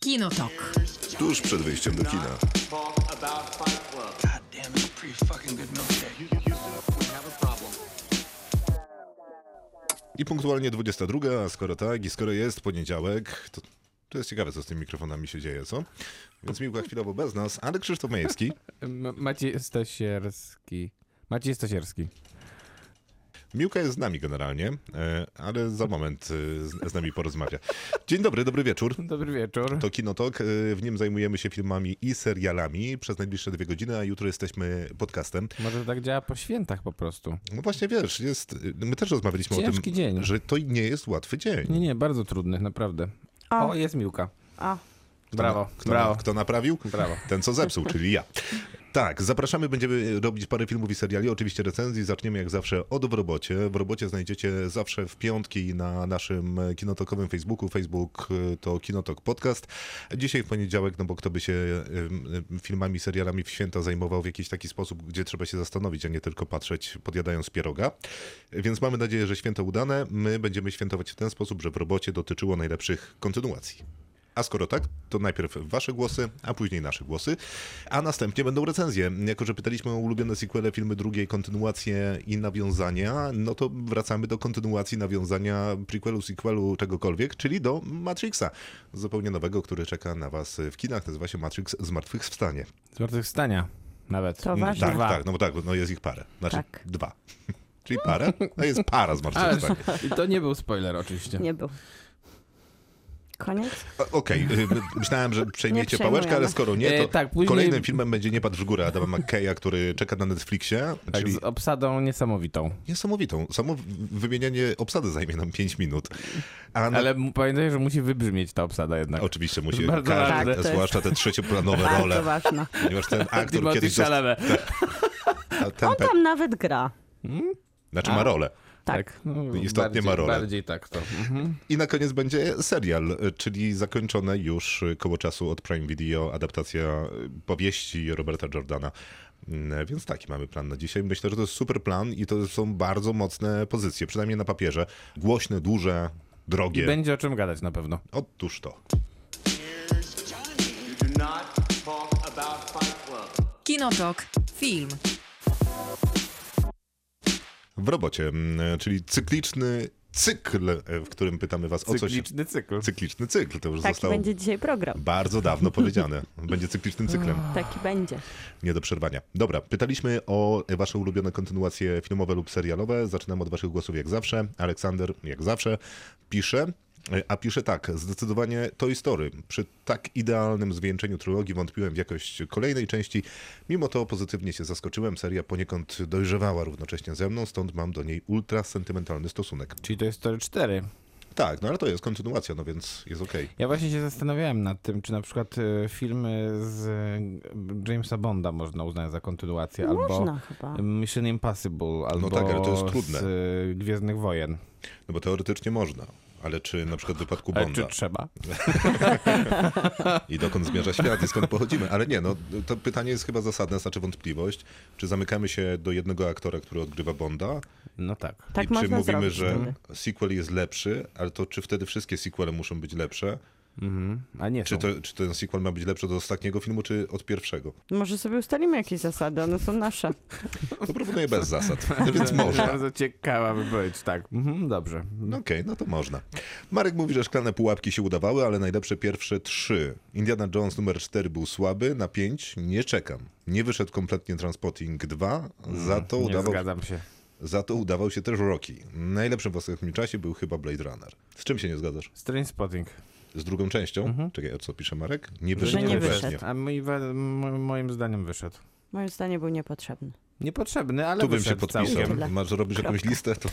Kinotok. Tuż przed wyjściem do kina. Damn, it's a pretty fucking good milkshake. I punktualnie 22, a skoro tak i skoro jest poniedziałek, to, to jest ciekawe, co z tymi mikrofonami się dzieje, co? Więc Miłka chwilowo bez nas, ale Krzysztof Majewski. M- Maciej Stasierski. Maciej Stasierski. Miłka jest z nami generalnie, e, ale za moment e, z- z nami porozmawia. Dzień dobry, dobry wieczór. Dobry wieczór. To Kinotok, e, w nim zajmujemy się filmami i serialami przez najbliższe dwie godziny, a jutro jesteśmy podcastem. Może to tak działa po świętach po prostu. No właśnie wiesz, jest, my też rozmawialiśmy o Ciężki tym, dzień. że to nie jest łatwy dzień. Nie, nie, bardzo trudny, naprawdę. A. O, jest Miłka. A, Brawo, Kto, brawo. kto naprawił? Brawo. Ten, co zepsuł, czyli ja. Tak, zapraszamy, będziemy robić parę filmów i seriali, oczywiście recenzji. Zaczniemy jak zawsze od W robocie. W robocie znajdziecie zawsze w piątki na naszym kinotokowym Facebooku. Facebook y, to Kinotok Podcast. Dzisiaj w poniedziałek, no bo kto by się y, y, filmami, serialami w święta zajmował w jakiś taki sposób, gdzie trzeba się zastanowić, a nie tylko patrzeć podjadając pieroga. Więc mamy nadzieję, że święta udane. My będziemy świętować w ten sposób, że w robocie dotyczyło najlepszych kontynuacji. A skoro tak, to najpierw wasze głosy, a później nasze głosy, a następnie będą recenzje. Jako, że pytaliśmy o ulubione sequele, filmy drugiej, kontynuacje i nawiązania, no to wracamy do kontynuacji, nawiązania, prequelu, sequelu, czegokolwiek, czyli do Matrixa, zupełnie nowego, który czeka na was w kinach, nazywa się Matrix Zmartwychwstanie. Mm, Zmartwychwstania nawet. To ważne. Tak, Dwa. tak, no bo tak, no jest ich parę, znaczy Tak. dwa. Czyli parę, no jest para Ale Zmartwychwstanie. i to nie był spoiler oczywiście. Tak. nie był. Koniec? O- Okej, y, myślałem, że przejmiecie przejmujemy. pałeczkę, ale skoro nie, to E, tak, później- kolejnym filmem będzie Nie patrz w górę Adama McKeya, który czeka na Netflixie, Tak, czyli z obsadą niesamowitą. niesamowitą. Samo w- wymienianie obsady zajmie nam 5 minut. A na... Ale m- pamiętaj, że musi wybrzmieć ta obsada jednak. Oczywiście musi Bardzo każdy, ważne. zwłaszcza te trzecioplanowe Bardzo role, ważna. ponieważ ten aktor Timothy tak, kiedyś Tak. dostał, Chalamet. ten pe... Tam nawet gra. znaczy ma rolę. Tak. no, Istotnie bardziej, ma rolę. Bardziej tak to. Mhm. I na koniec będzie serial, y, czyli zakończone już y, koło czasu od Prime Video adaptacja y, powieści Roberta Jordana. Mm, Więc taki mamy plan na dzisiaj. Myślę, że to jest super plan i to są bardzo mocne pozycje, przynajmniej na papierze. Głośne, duże, I drogie. będzie o czym gadać na pewno. Otóż to. Do not talk about Fight Club. Kinotok. Film. W robocie, mm, czyli cykliczny cykl, y, w którym pytamy was o coś. Cykliczny cykl. Cykliczny cykl, to już Taki zostało Tak, będzie dzisiaj program. bardzo dawno powiedziane. Będzie cyklicznym cyklem. Taki będzie. Nie do przerwania. Dobra, pytaliśmy o wasze ulubione kontynuacje filmowe lub serialowe. Zaczynam od waszych głosów jak zawsze. Aleksander, jak zawsze, pisze. A pisze tak, zdecydowanie Toy Story. Przy tak idealnym zwieńczeniu trylogii wątpiłem w jakość kolejnej części. Mimo to pozytywnie się zaskoczyłem. Seria poniekąd dojrzewała równocześnie ze mną, stąd mam do niej ultra sentymentalny stosunek. Czyli to jest Story 4. Tak, no ale to jest kontynuacja, no więc jest okej. Ja właśnie się zastanawiałem nad tym, czy na przykład e, filmy z e, Jamesa Bonda można uznać za kontynuację, albo Można chyba. Mission Impossible, albo tak, ale to jest trudne. z e, Gwiezdnych Wojen. No bo teoretycznie można, ale czy na przykład w wypadku Ale Bonda... czy trzeba? i dokąd zmierza świat i skąd pochodzimy. Ale nie, no to pytanie jest chyba zasadne, znaczy wątpliwość. Czy zamykamy się do jednego aktora, który odgrywa Bonda? No tak. Tak I czy można mówimy, zrobić że wtedy. sequel jest lepszy, ale to czy wtedy wszystkie sequele muszą być lepsze? A nie Czy, są. to, czy ten sequel ma być lepszy od ostatniego filmu, czy od pierwszego? Może sobie ustalimy jakieś zasady, one są nasze. To proponuję bez zasad, no więc Bardzo- można. Bardzo ciekawa wypowiedź, tak. Mhm, dobrze. No Okej, no to można. Marek mówi, że szklane pułapki się udawały, ale najlepsze pierwsze trzy. Indiana Jones numer 4 był słaby, na 5 nie czekam. Nie wyszedł kompletnie Transporting 2, za to Nie udawał zgadzam się. Za to udawał się też Rocky. Najlepszym w ostatnim czasie był chyba Blade Runner. Z czym się nie zgadzasz? Strange Spotting. Z drugą częścią? Mhm. Czekaj, o co pisze Marek? Nie wyszedł Że nie kompletnie. wyszedł. A mój, we- m- moim zdaniem wyszedł. Moje zdanie był niepotrzebny. Niepotrzebny, ale Tu bym się wyszedł podpisał. całkiem. Tyle. Masz robisz jakąś listę? To...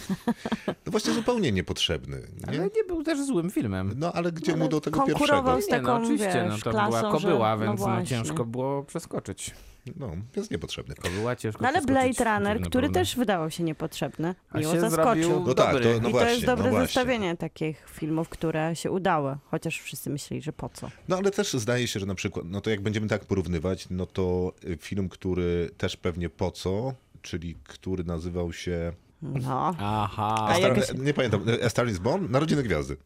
No właśnie zupełnie niepotrzebny. Ale Nie? nie był też złym filmem. No ale gdzie Ale mu do tego pierwszego? konkurował z Nie, no taką, oczywiście, wiesz, no to klasą, była kobyła, że... no więc no właśnie. ciężko było przeskoczyć. No, jest niepotrzebny. Kobyła ciężko No ale przeskoczyć, Blade Runner, na który pewno. też wydawał się niepotrzebny, A miło się zaskoczył. zrobił- No tak, Dobry. to, no I właśnie. to jest no dobre właśnie. zestawienie takich filmów, które się udały, chociaż wszyscy myśleli, że po co. No ale też zdaje się, że na przykład, no to jak będziemy tak porównywać, no to y, film, który też pewnie po co, czyli który nazywał się... No. Aha. A Star... y, jakoś- Nie pamiętam, A Star is Born? Narodziny Gwiazdy.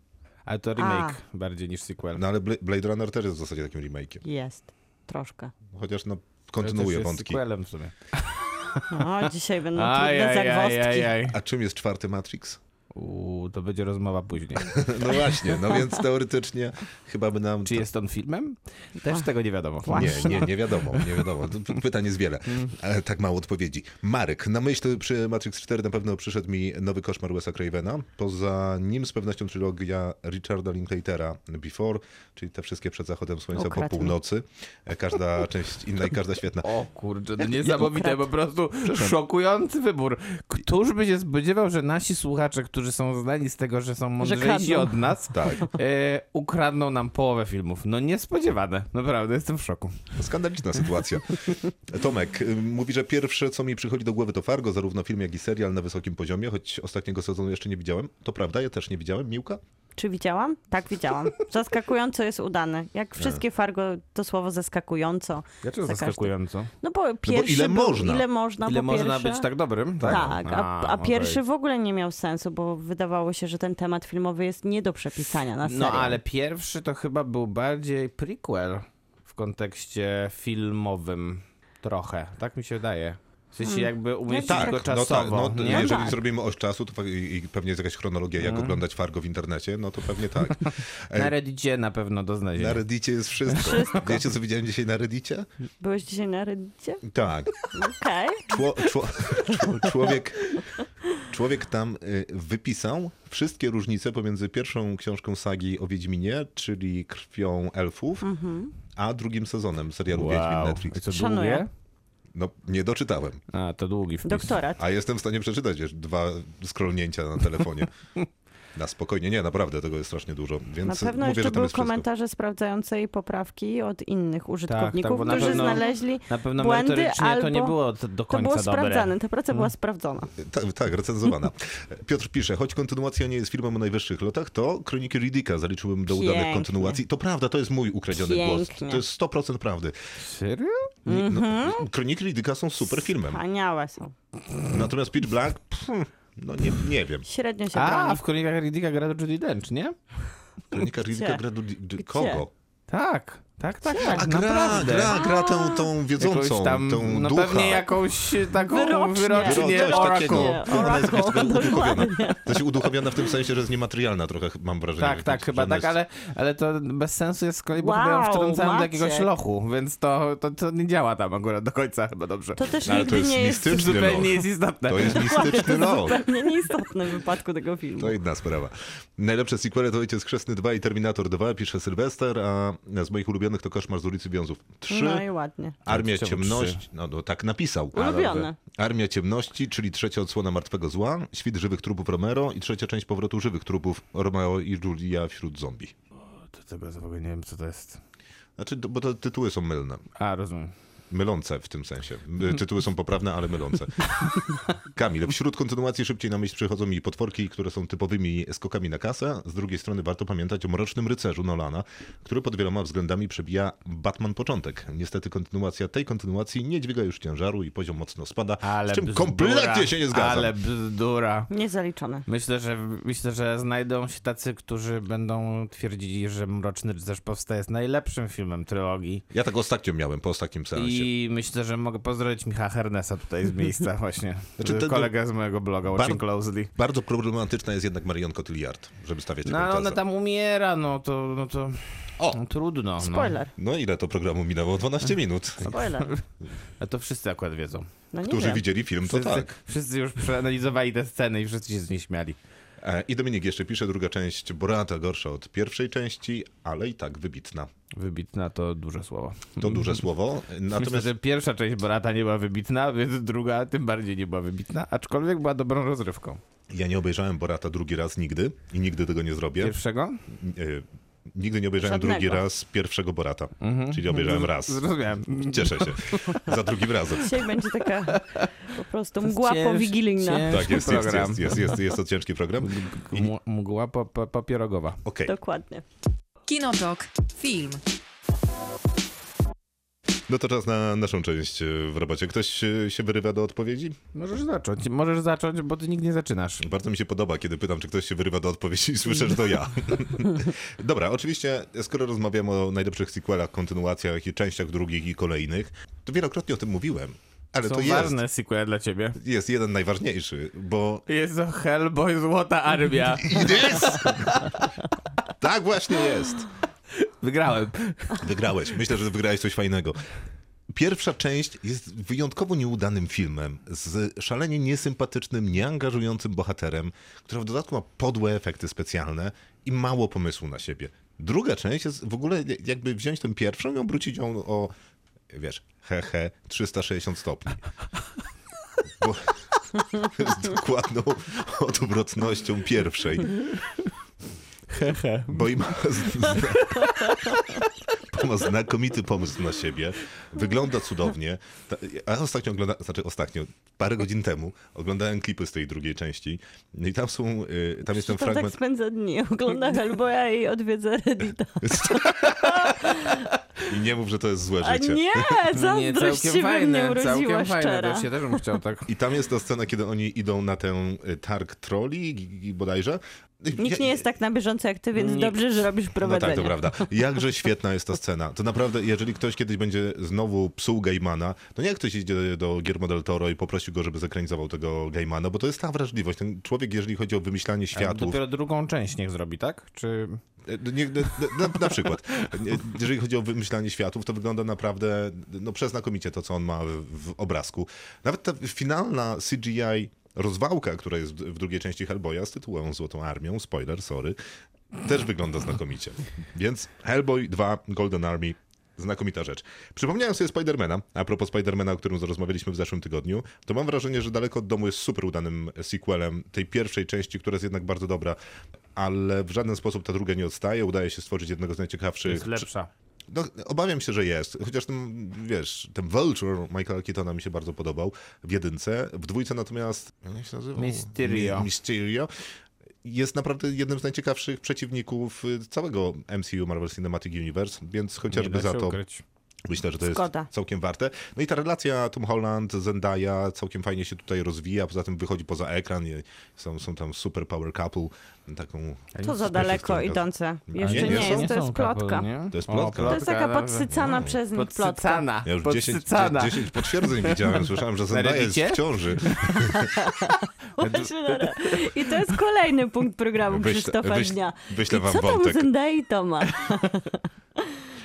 Ale to remake bardziej niż sequel. No ale Bla- Blade Runner też jest w zasadzie takim remake'iem. Jest. Troszkę. Chociaż no, To też kontynuuje jest wątki. sequelem w sumie. O, No, dzisiaj będą trudne Ajajajajaj. zagwozdki. A czym jest czwarty Matrix? Uuu, to będzie rozmowa później. No właśnie, no więc teoretycznie chyba by nam... Czy jest on filmem? Też tego nie wiadomo. Właśnie. Nie, nie, nie wiadomo, nie wiadomo. Tu p- Pytań jest wiele, Mm. ale tak mało odpowiedzi. Marek, na myśl przy Matrix 4 na pewno przyszedł mi nowy koszmar Wes'a Cravena. Poza nim z pewnością trylogia Richarda Linklatera Before, czyli te wszystkie przed zachodem słońca po Ukradł mi. północy. E, Każda część inna i każda świetna. O kurczę, to niesamowite, po prostu szokujący wybór. Któż by się spodziewał, że nasi słuchacze, którzy są znani z tego, że są mądrzejsi kradną. od nas, Tak. e, ukradną nam połowę filmów. No niespodziewane, naprawdę, jestem w szoku. Skandaliczna sytuacja. Tomek y, mówi, że pierwsze, co mi przychodzi do głowy, to Fargo, zarówno film, jak i serial na wysokim poziomie, choć ostatniego sezonu jeszcze nie widziałem. To prawda, ja też nie widziałem. Miłka? Czy widziałam? Tak, widziałam. Zaskakująco jest udany. Jak wszystkie Tak. Fargo, to słowo zaskakująco. Dlaczego Za każdym- zaskakująco? No bo pierwszy ile był, można? no, Ile można, Ile po można pierwsze. być tak dobrym? Tak, a, a pierwszy w ogóle nie miał sensu, bo wydawało się, że ten temat filmowy jest nie do przepisania na serial. No ale pierwszy to chyba był bardziej prequel w kontekście filmowym trochę, tak mi się wydaje. W sensie jakby umieścić tak, go no tak, czasowo, no, nie? jeżeli tak. zrobimy oś czasu, to fa- i i pewnie jest jakaś chronologia, jak oglądać Fargo w internecie, no to pewnie tak. Na Reddicie na pewno do Na znalezienia. Reddicie jest wszystko. Wiecie, co widziałem dzisiaj na Reddicie? Byłeś dzisiaj na Reddicie? Tak. Okej. Czło, czło, czło, człowiek, człowiek tam y, wypisał wszystkie różnice pomiędzy pierwszą książką sagi o Wiedźminie, czyli Krwią Elfów, Mhm. a drugim sezonem serialu Wiedźmin I Netflix. co Szanuję. długie? No, nie doczytałem, A, to długi wpis. Doktorat. a jestem w stanie przeczytać jeszcze dwa scrollnięcia na telefonie. Na spokojnie, nie, naprawdę tego jest strasznie dużo, Na więc pewno mówię, że jeszcze tam były jest wszystko. komentarze sprawdzającej poprawki od innych użytkowników, Tak, bo na którzy pewno- znaleźli. Na pewno Błędy merytorycznie to nie albo- było t- do To końca było dobre. Mhm. sprawdzane, ta praca była sprawdzona. Tak, tak, recenzowana. Piotr pisze, choć kontynuacja nie jest filmem o najwyższych lotach, to Kroniki Riddicka zaliczyłbym do udanych Pięknie. kontynuacji. To prawda, to jest mój ukradziony głos. Pięknie. To jest 100% prawdy. Serio? Nie, No, Kroniki Riddicka są super filmem. Wspaniałe są. Natomiast Pitch Black, pff, no nie, nie wiem. Średnio się A, broni. w Kronikach Riddicka gra Judy Dench, nie? Kronika Riddicka Gdzie? gra do, do Gdzie? kogo? Tak, tak, tak, tak, A gra, naprawdę. gra, gra tą, tą wiedzącą, Jakąś tam, tą no ducha. pewnie jakąś e, taką Wyrocznie. wyrocznie Coś takiego. Oracle. Ona jest jakaś taka Oracle, uduchowiona. To się uduchowiona w tym sensie, że jest niematerialna trochę, mam wrażenie. Tak, tak, Że chyba ona tak, jest- ale, ale to bez sensu jest z kolei, bo Wow, chyba ją wtrącałem do jakiegoś Maciek. lochu, więc to, to, to nie działa tam akurat do końca chyba dobrze. To też No, Ale to nigdy jest nie jest mistyczny Zupełnie loch. jest istotne. To jest mistyczny lot. zupełnie nieistotne w wypadku tego filmu. To jedna No, sprawa. Najlepsze sequele to Ojciec Chrzestny 2 i Terminator 2, pisze Sylwester, a z moich ulubionych to Koszmar z ulicy Wiązów 3, No i ładnie. Armia Czemu Ciemności, no, no tak napisał. Ulubione. Armia Ciemności, czyli trzecia odsłona Martwego Zła, Świt Żywych Trupów Romero i trzecia część Powrotu Żywych Trupów Romeo i Julia wśród zombie. To tego w ogóle nie wiem, co to jest. Znaczy, to- bo te tytuły są mylne. A, rozumiem. Mylące w tym sensie. Y, Tytuły są poprawne, ale mylące. Kamil, wśród kontynuacji szybciej na myśl przychodzą mi potworki, które są typowymi skokami na kasę. Z drugiej strony warto pamiętać o Mrocznym Rycerzu Nolana, który pod wieloma względami przebija Batman początek. Niestety kontynuacja tej kontynuacji nie dźwiga już ciężaru i poziom mocno spada, Ale z czym bzdura, kompletnie się nie zgadzam. Ale bzdura. Niezaliczone. Myślę, że myślę, że znajdą się tacy, którzy będą twierdzili, że Mroczny Rycerz Powstaje jest najlepszym filmem trylogii. Ja tak ostatnio miałem, po ostatnim seansie. I myślę, że mogę pozdrowić Michała Hernesa tutaj z miejsca właśnie. Znaczy, to- to- Kolega z mojego bloga Watching Closely. Bardzo problematyczna jest jednak Marion Cotillard, żeby stawiać No taką ale tezę. ona tam umiera, no to, no to O! no, trudno. Spoiler. No ile to programu minęło? 12 minut. Spoiler. No. A to wszyscy akurat wiedzą. No nie Którzy wiem. widzieli film, to Wszyscy, tak. wszyscy już przeanalizowali te sceny i wszyscy się z nich śmiali. E, I Dominik jeszcze pisze, druga część Borata gorsza od pierwszej części, ale i tak wybitna. Wybitna to duże słowo. To duże słowo. Myślę, Natomiast że pierwsza część Borata nie była wybitna, więc druga tym bardziej nie była wybitna, aczkolwiek była dobrą rozrywką. ja nie obejrzałem Borata drugi raz nigdy i nigdy tego nie zrobię. Pierwszego? E, Nigdy nie obejrzałem Żadnego. drugi raz pierwszego Borata, czyli obejrzałem raz. Mhm. Zrozumiałem. Cieszę się za drugim razem. Dzisiaj będzie taka po prostu mgła Cięż- powigilijna. cięż- Tak, jest, jest, program. jest, jest, jest, jest to ciężki program. M- Mgła po- po- papierogowa. Okej, Dokładnie. Kinotok. Film. No to czas na naszą część e, w robocie. Ktoś e, się wyrywa do odpowiedzi? Możesz zacząć, możesz zacząć, bo ty nigdy nie zaczynasz. Bardzo mi się podoba, kiedy pytam, czy ktoś się wyrywa do odpowiedzi i słyszę, że to ja. Dobra, oczywiście, skoro rozmawiamy o najlepszych sequelach, kontynuacjach i częściach drugich i kolejnych, to wielokrotnie o tym mówiłem. Ale Są to jest, ważne sequele dla ciebie. jest jeden najważniejszy, bo Jest to Hellboy Złota Armia. tak właśnie jest. Wygrałem. Wygrałeś. Myślę, że wygrałeś coś fajnego. Pierwsza część jest wyjątkowo nieudanym filmem z szalenie niesympatycznym, nieangażującym bohaterem, która w dodatku ma podłe efekty specjalne i mało pomysłu na siebie. Druga część jest w ogóle jakby wziąć tę pierwszą i obrócić ją o, wiesz, hehe, 360 stopni. Bo z dokładną odwrotnością pierwszej. Hehe. Bo i ma, zna, bo ma znakomity pomysł na siebie. Wygląda cudownie. Ta- A ostatnio ogląda, znaczy ostatnio, parę godzin temu oglądałem klipy z tej drugiej części. No I tam są, y, tam jest ten To tak fragment. spędza dni, ogląda Hellboya i odwiedza Reddita. I nie mów, że to jest złe A życie. No nie, zazdrość się we mnie urodziła całkiem fajne. szczera. To się też bym chciał tak. I tam jest ta scena, kiedy oni idą na ten y, targ troli gi- gi- bodajże. Nikt nie jest tak na bieżąco jak ty, więc Nikt. dobrze, że robisz No tak, prowadzenie. to prawda. Jakże świetna jest ta scena. To naprawdę, jeżeli ktoś kiedyś będzie znowu psuł Gaimana, to nie jak ktoś idzie do Guillermo del Toro i poprosił go, żeby zekranizował tego Gaimana, bo to jest ta wrażliwość. Ten człowiek, jeżeli chodzi o wymyślanie światów, Dopiero drugą część niech zrobi, tak? Czy e, nie, na, na- na przykład, e, jeżeli chodzi o wymyślanie światów, to wygląda naprawdę no, przeznakomicie to, co on ma w, w obrazku. Nawet ta finalna CGI rozwałka, która jest w drugiej części Hellboya z tytułem Złotą Armią, spoiler, sorry, też wygląda znakomicie. Więc Hellboy 2, Golden Army, znakomita rzecz. Przypomniałem sobie Spidermana, a propos Spidermana, o którym rozmawialiśmy w zeszłym tygodniu, to mam wrażenie, że Daleko od Domu jest super udanym sequelem tej pierwszej części, która jest jednak bardzo dobra, ale w żaden sposób ta druga nie odstaje, udaje się stworzyć jednego z najciekawszych jest lepsza? no, obawiam się, że jest. Chociaż ten, wiesz, ten Vulture Michaela Keatona mi się bardzo podobał w jedynce. W dwójce natomiast... Jak on się nazywał? Mysterio. Mi- Mysterio. Jest naprawdę jednym z najciekawszych przeciwników y, całego MCU Marvel Cinematic Universe, więc chociażby Nie da za się to Ukryć. myślę, że to jest Zgoda. całkiem warte. No i ta relacja Tom Holland, Zendaya całkiem fajnie się tutaj rozwija, poza tym wychodzi poza ekran, i są, są tam super power couple, taką... To za daleko idące. nie, Jeszcze nie nie, są? jest, to są jest couple, plotka. nie? To jest O, plotka. no. To jest taka dobra. podsycana przez nich plotka. Podsycana. Ja już 10, podsycana. 10 potwierdzeń widziałem, słyszałem, że Zendaya jest Reddicie? w ciąży. Właśnie, Lara. I to jest kolejny punkt programu Wyślę- Krzysztofa wyślę- Dnia. wyślę I wam co tam wątek. Zendai to ma?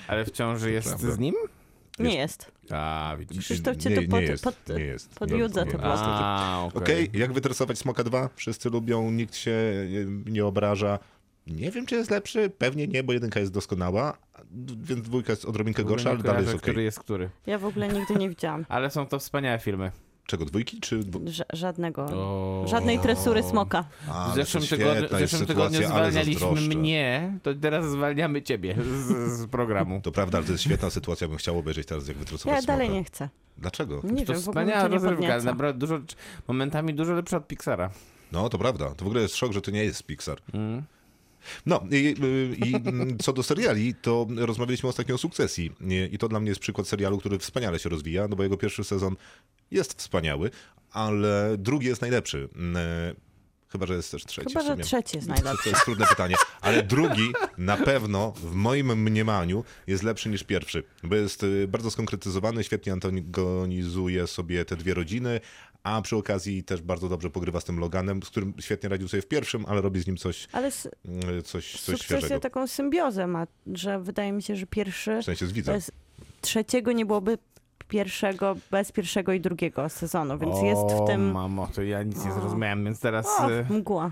Ale w ciąży jest Prawda. z nim? Nie jest. A, widzisz. Krzysztof cię Nie- tu pod, nie jest, pod, nie jest. podjudza te Nie. plotki. A, okej. Okej, jak wytresować Smoka 2? Wszyscy lubią, nikt się e, nie obraża. Nie wiem, czy jest lepszy. Pewnie nie, bo jedynka jest doskonała, a d- więc dwójka jest odrobinkę gorsza, ale Nie dalej kojarzę, jest okej. który jest który. Ja w ogóle nigdy nie widziałam Ale są to wspaniałe filmy. Czego, dwójki czy... dwu- ża- żadnego, O. żadnej tresury smoka. A, W zeszłym, no to tygodniu, świetna w jest zeszłym sytuacja, tygodniu ale zwalnialiśmy zazdroszczę. mnie, to teraz zwalniamy ciebie z, z programu. To prawda, ale to jest świetna sytuacja, bym chciał obejrzeć teraz, jak wytresować Ja dalej Smoka. nie chcę. Dlaczego? Nie To wiem, w ogóle mnie to wspaniała nie rozrywka, podnieca. naprawdę dużo, momentami dużo lepsza od Pixara. No, to prawda. To w ogóle jest szok, że to nie jest Pixar. Mm. No i, i, i mm, co do seriali, to rozmawialiśmy ostatnio o sukcesji. Nie, I to dla mnie jest przykład serialu, który wspaniale się rozwija, no bo jego pierwszy sezon jest wspaniały, ale drugi jest najlepszy. Mm, e, Chyba, że jest też trzeci. Chyba, w że sumie. trzeci jest najlepszy. To jest trudne pytanie, ale drugi na pewno w moim mniemaniu jest lepszy niż pierwszy, bo jest y, bardzo skonkretyzowany, świetnie antagonizuje sobie te dwie rodziny, a przy okazji też bardzo dobrze pogrywa z tym Loganem, z którym świetnie radził sobie w pierwszym, ale robi z nim coś, Ale s- y, coś, coś sukcesja świeżego. taką symbiozę ma, że wydaje mi się, że pierwszy, W sensie z to widzem. jest, trzeciego nie byłoby pierwszego bez pierwszego i drugiego sezonu, więc jest w O, tym mamo, to ja nic nie zrozumiałem, więc teraz... o, e, mgła. e,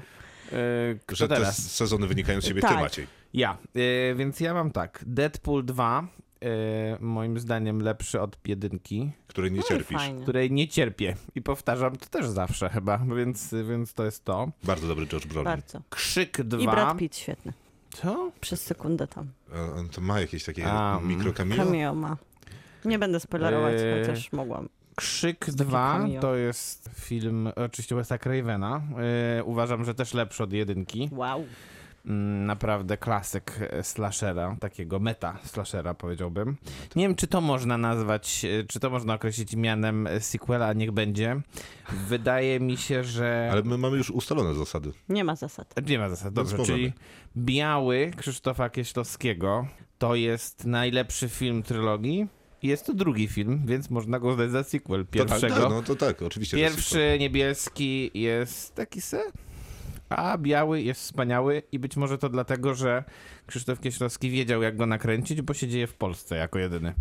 kto Że te teraz? sezony wynikają z siebie, ty Tak. Maciej. Ja, e, więc ja mam tak. Deadpool 2, e, moim zdaniem lepszy od jedynki, Który nie No i cierpisz. fajnie. której nie cierpię. I powtarzam to też zawsze chyba, więc, więc to jest to. Bardzo dobry George Brolin. Bardzo. Krzyk 2. I Brad Pitt świetny. Co? Przez sekundę tam. E, On to ma jakieś takie A, mm. mikrokamienie? Cameo ma. Nie będę spoilerować, Eee. chociaż mogłam. Krzyk 2 cameo. to Y, jest film oczywiście Wes'a Cravena. E, uważam, że też lepszy od jedynki. Wow. mm, naprawdę klasyk e, slashera, takiego meta slashera powiedziałbym. Nie wiem, czy to można nazwać, e, czy to można określić mianem e, sequela, niech będzie. Wydaje mi się, że... Ale my mamy już ustalone zasady. Nie ma zasad. Nie ma zasad, Bez dobrze. problemu. Czyli Biały Krzysztofa Kieślowskiego to jest najlepszy film trylogii. Jest to drugi film, więc można go uznać za sequel pierwszego. To, tak, no to tak, oczywiście. że sequel. Pierwszy niebieski jest taki se, a biały jest wspaniały i być może to dlatego, że Krzysztof Kieślowski wiedział jak go nakręcić, bo się dzieje w Polsce jako jedyny.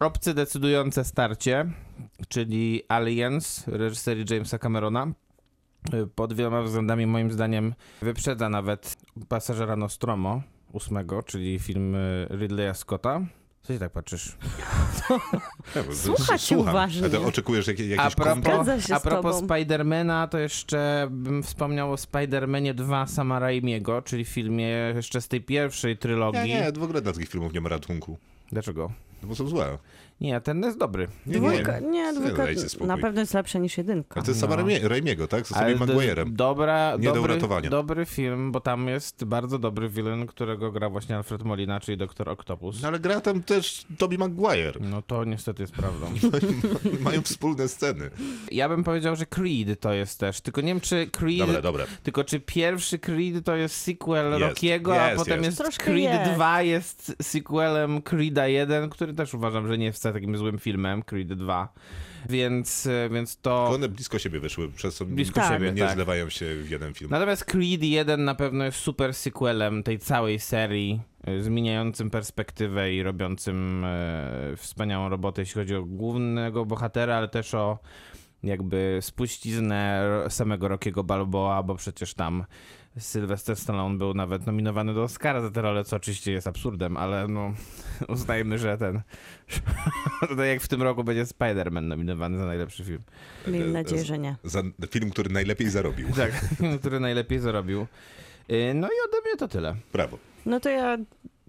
Obcy decydujące starcie, czyli Aliens reżyserii Jamesa Camerona, y, pod wieloma względami moim zdaniem wyprzedza nawet Pasażera Nostromo ósmego, czyli film y, Ridleya Scotta. Co się tak patrzysz? Ja, bo- Słuchać słucham. uważnie. A ty oczekujesz jakiej, A jakiejś kom... Zgadza propos, się a z propos tobą. Spidermana, to jeszcze bym wspomniał o Spidermanie 2 Sama Raimiego, czyli filmie jeszcze z tej pierwszej Nie, trylogii. nie, w ogóle dla takich filmów nie ma ratunku. Dlaczego? No Bo są złe. Nie, ten jest dobry. Nie, Dwójka, nie. nie, Serio, dwójka dajcie spokój. na pewno jest lepsza niż jedynka. A to jest No. sama Raimie- Raimiego, tak? Z samym to jest Maguire'em. Dobra, Nie do dobry, uratowania. dobry film, bo tam jest bardzo dobry villain, którego gra właśnie Alfred Molina, czyli Doktor Octopus. No ale gra tam też Toby Maguire. No to niestety jest prawdą. Mają wspólne sceny. Ja bym powiedział, że Creed to jest też, tylko nie wiem czy Creed... Dobra, dobra. Tylko czy pierwszy Creed to jest sequel Jest, Rockiego, a jest, potem jest. jest, Troszkę Creed jest. 2 jest sequelem Creeda 1, który też uważam, że nie jest wcale takim złym filmem, Creed 2. Więc, e, więc to... One blisko siebie wyszły, przez co Blisko Tak. siebie, nie tak. zlewają się w jeden film. Natomiast Creed 1 na pewno jest super sequelem tej całej serii, y, zmieniającym perspektywę i robiącym e, wspaniałą robotę, jeśli chodzi o głównego bohatera, ale też o jakby spuściznę ro- samego Rockiego Balboa, bo przecież tam Sylvester Stallone był nawet nominowany do Oscara za tę rolę, co oczywiście jest absurdem, ale no uznajmy, że ten to tak jak w tym roku będzie Spider-Man nominowany za najlepszy film. e, Miejmy nadzieję, że nie. Za film, który najlepiej zarobił. Tak, który najlepiej zarobił. Y, No i ode mnie to tyle. Brawo. No to ja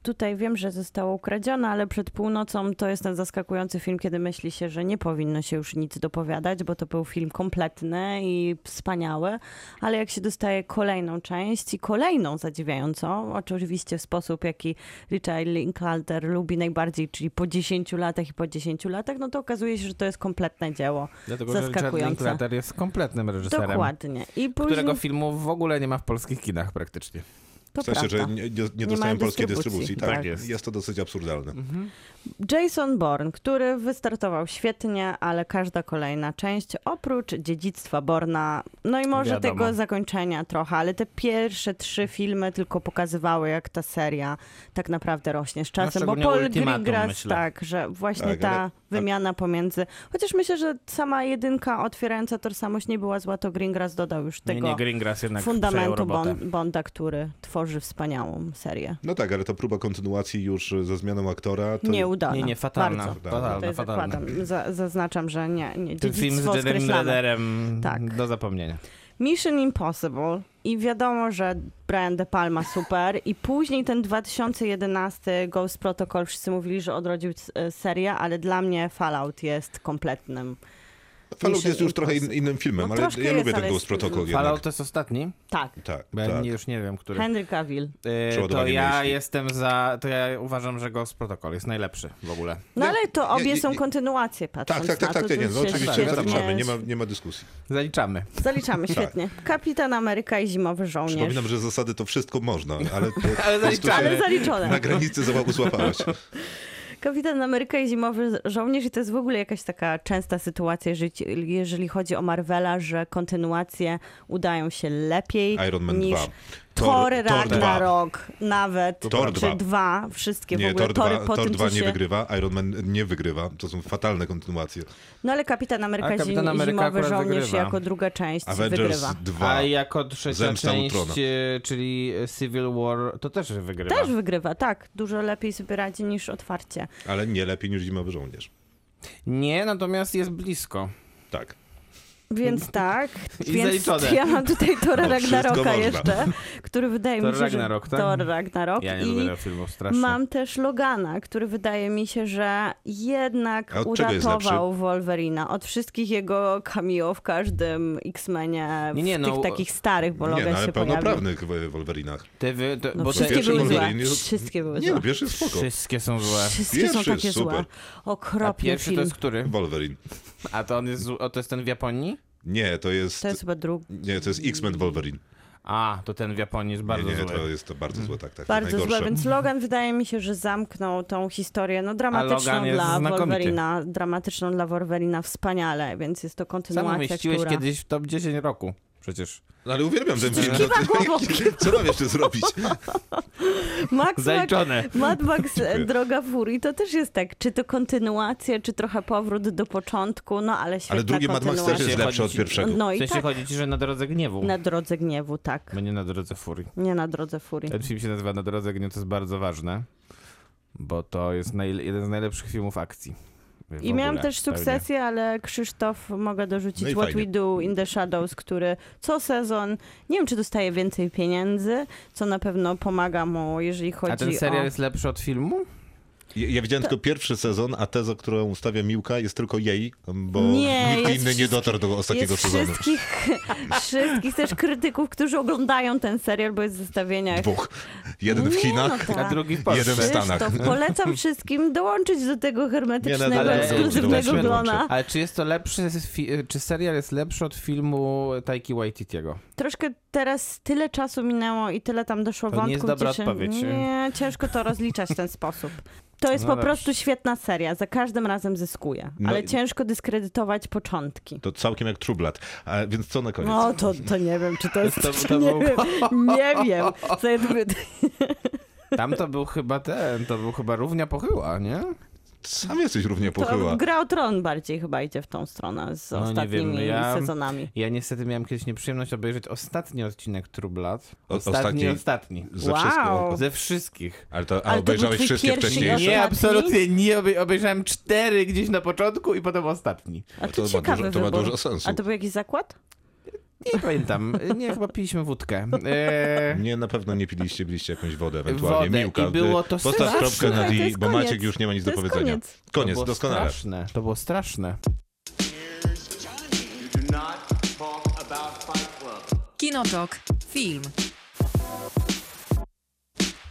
tutaj wiem, że zostało ukradzione, ale przed północą to jest ten zaskakujący film, kiedy myśli się, że nie powinno się już nic dopowiadać, bo to był film kompletny i wspaniały, ale jak się dostaje kolejną część i kolejną zadziwiającą, oczywiście w sposób, jaki Richard Linklater lubi najbardziej, czyli po 10 latach i po 10 latach, no to okazuje się, że to jest kompletne dzieło. Dlatego, że Richard Zaskakujące. Linklater jest kompletnym reżyserem, Dokładnie. I później, którego filmu w ogóle nie ma w polskich kinach praktycznie. to W sensie, że prawda. nie, nie, nie mają dostają polskiej dystrybucji. dystrybucji. Tak, Tak jest. jest. Mhm. to dosyć absurdalne. Jason Bourne, który wystartował świetnie, ale każda kolejna część oprócz dziedzictwa Borna, no i może Wiadomo. tego zakończenia trochę, ale te pierwsze trzy filmy tylko pokazywały, jak ta seria tak naprawdę rośnie z czasem, bo szczególnie Paul Ultimatum, Greengrass, myślę. tak, że właśnie Tak, ta ale- wymiana pomiędzy, chociaż myślę, że sama jedynka otwierająca tożsamość nie była zła, to Greengrass dodał już Nie, tego nie, Greengrass jednak przejął fundamentu robotę. Bond, Bonda, który tworzy wspaniałą serię. No tak, ale to próba kontynuacji już ze zmianą aktora. To... Nie udana. Nie, nie, fatalna. Bardzo. Fatalna, Tutaj Fatalna, fatalna. zakładam, za, zaznaczam, że nie, nie Ten film z dziedzictwo Jeremym skreślane. Rederem Tak. do zapomnienia. Mission Impossible i wiadomo, że Brian De Palma super i później ten 2011 Ghost Protocol, wszyscy mówili, że odrodził e, serię, ale dla mnie Fallout jest kompletnym. Fallout Mission jest już trochę in, Impossible. innym filmem, No ale troszkę ja jest, lubię ten ale Ghost jest- Protocol Fallout jednak. to jest ostatni? Tak, Tak, Bo ja tak. nie- już nie wiem, który. Henry Cavill. Y, to Przeładowanie ja myśli. jestem za, to ja uważam, że Ghost Protocol jest najlepszy w ogóle. No Nie, ale to obie nie, nie, są nie. kontynuacje, Tak, patrząc tak, tak, na tak, to. nie, nie, tu no się oczywiście świetnie- zaliczamy, nie ma, nie ma dyskusji. Zaliczamy. Zaliczamy, Tak. świetnie. Kapitan Ameryka i Zimowy Żołnierz. Przypominam, że zasady to wszystko można, ale, po prostu zaliczamy. Ale się zaliczone. na granicy załapu złapałaś. Kapitan Ameryka i Zimowy Żołnierz i to jest w ogóle jakaś taka częsta sytuacja, jeżeli, jeżeli chodzi o Marvela, że kontynuacje udają się lepiej Iron Man niż 2. Thor, dwa. Ragnarok, nawet Tor czy dwa. dwa, wszystkie w Nie, ogóle Thor tory 2, po Thor tym, 2 co nie się... wygrywa, Iron Man nie wygrywa. To są fatalne kontynuacje. No ale Kapitan Ameryka, A Kapitan Zim- Ameryka Zimowy akurat Żołnierz wygrywa. jako druga część Avengers wygrywa. 2. A jako trzecia Zemsta część, Utrona. y, czyli Civil War, to też wygrywa. Też wygrywa, tak. Dużo lepiej sobie radzi niż otwarcie. Ale nie lepiej niż Zimowy Żołnierz. Nie, natomiast jest blisko. Tak. Więc tak, I więc zaliczone. ja mam tutaj Tora Bo No, wszystko Ragnaroka można. jeszcze, który wydaje Thor mi się, Ragnarok, że tak? Thor Ragnarok Ja nie lubię i tego filmu, strasznie. mam też Logana, który wydaje mi się, że jednak A od czego jest uratował Wolverina od wszystkich jego cameo w każdym X-Menie, w Nie, nie, tych no, takich starych, bo nie, Logan no, ale się pojawił. pełnoprawnych w Wolverinach. Ty wy, to, No, bo te, wszystkie pierwszy były złe, Wolverine jest- wszystkie były Nie, złe. no pierwszy jest spoko. wszystkie są złe. Wszystkie są Pierwszy takie jest super. złe. A Okropny pierwszy to film. jest który? Wolverine. A to on jest, zł- o, to jest ten w Japonii? Nie, to jest... To jest chyba drugi. Nie, to jest X-Men Wolverine. A, to ten w Japonii jest bardzo nie, nie, zły. to jest to bardzo złe, tak, tak. Bardzo najgorsze. złe, więc Logan wydaje mi się, że zamknął tą historię, no dramatyczną Logan jest dla znakomity. Wolverina, dramatyczną dla Wolverina wspaniale, więc jest to Sam kontynuacja, umieściłeś która... Tak. kiedyś w top 10 roku. Przecież. No, ale uwielbiam ten film. kiwa No, głową. co mam jeszcze zrobić? Max Zaliczone. Mad Max Dziękuję. e, Droga Furii to też jest tak, czy to kontynuacja, czy trochę powrót do początku, no ale świetna Ale drugi Mad Max kontynuacja. też jest Właśnie lepszy od chodzi- pierwszego. No W i sensie tak, chodzi ci, że na drodze gniewu. na drodze gniewu, tak. Bo nie na drodze furii. Nie na drodze furii. Ten film się nazywa Na drodze gniewu, to jest bardzo ważne. Bo to jest najle- jeden z najlepszych filmów akcji. W I miałam ogóle, tak też pewnie. sukcesję, ale Krzysztof mogę dorzucić No i What fajnie. We Do in the Shadows, który co sezon, nie wiem czy dostaje więcej pieniędzy, co na pewno pomaga mu, jeżeli chodzi A ten o... serial jest lepszy od filmu? Ja, ja widziałem tylko pierwszy sezon, a teza, którą ustawia Miłka, jest tylko jej, bo Nie, nikt jest inny nie wszystkich- dotarł do ostatniego jest sezonu. wszystkich, wszystkich też krytyków, którzy oglądają ten serial, bo jest w zestawieniach. Dwóch. Jeden w Nie, Chinach, no tak. A drugi w Jeden Polsce. w Stanach. Krzysztof, polecam wszystkim dołączyć do tego Nie, hermetycznego, no, ale- ekskluzywnego dołączę, glona. Ale czy jest to lepszy, fi- czy serial jest lepszy od filmu Taiki Waititiego? Troszkę teraz tyle czasu minęło i tyle tam doszło To nie wątków. jest dobra gdzie się- odpowiedź. Nie, ciężko to rozliczać w ten sposób. To jest No po dobrze. prostu świetna seria, za każdym razem zyskuje, No ale i- ciężko dyskredytować początki. To całkiem jak Trublat. A, więc co na koniec? No to, to nie wiem, czy to jest... To- To, to nie, był- wiem, nie wiem. Co ja tu mówię? Tam to był chyba ten, to był chyba równia pochyła, nie? Sam jesteś równie pochyła. To gra o tron bardziej chyba idzie w tą stronę z No, nie ostatnimi wiem, ja- sezonami. Ja niestety miałem kiedyś nieprzyjemność obejrzeć ostatni odcinek Trublat. O- Ostatni, ostatni? ostatni. Ze Wow. wszystko. Ze wszystkich. Ale to, a Ale to obejrzałeś był twój wszystkie pierwszy wcześniejsze? ostatni? Nie, absolutnie nie. Obej- obejrzałem cztery gdzieś na początku i potem ostatni. A to to, ma ciekawy dużo- to ma wybór. dużo sensu. A to był jakiś zakład? Nie pamiętam. Nie, chyba piliśmy wódkę. E, Nie, na pewno nie piliście, byliście jakąś wodę ewentualnie. Wodę Miłka, i było to postaw straszne. kropkę na Słuchaj, to D, jest bo koniec. Maciek już nie ma nic To do jest powiedzenia. koniec. to koniec było doskonale. Straszne. To było straszne. You do not talk about Fight Club. Kinotok. Film.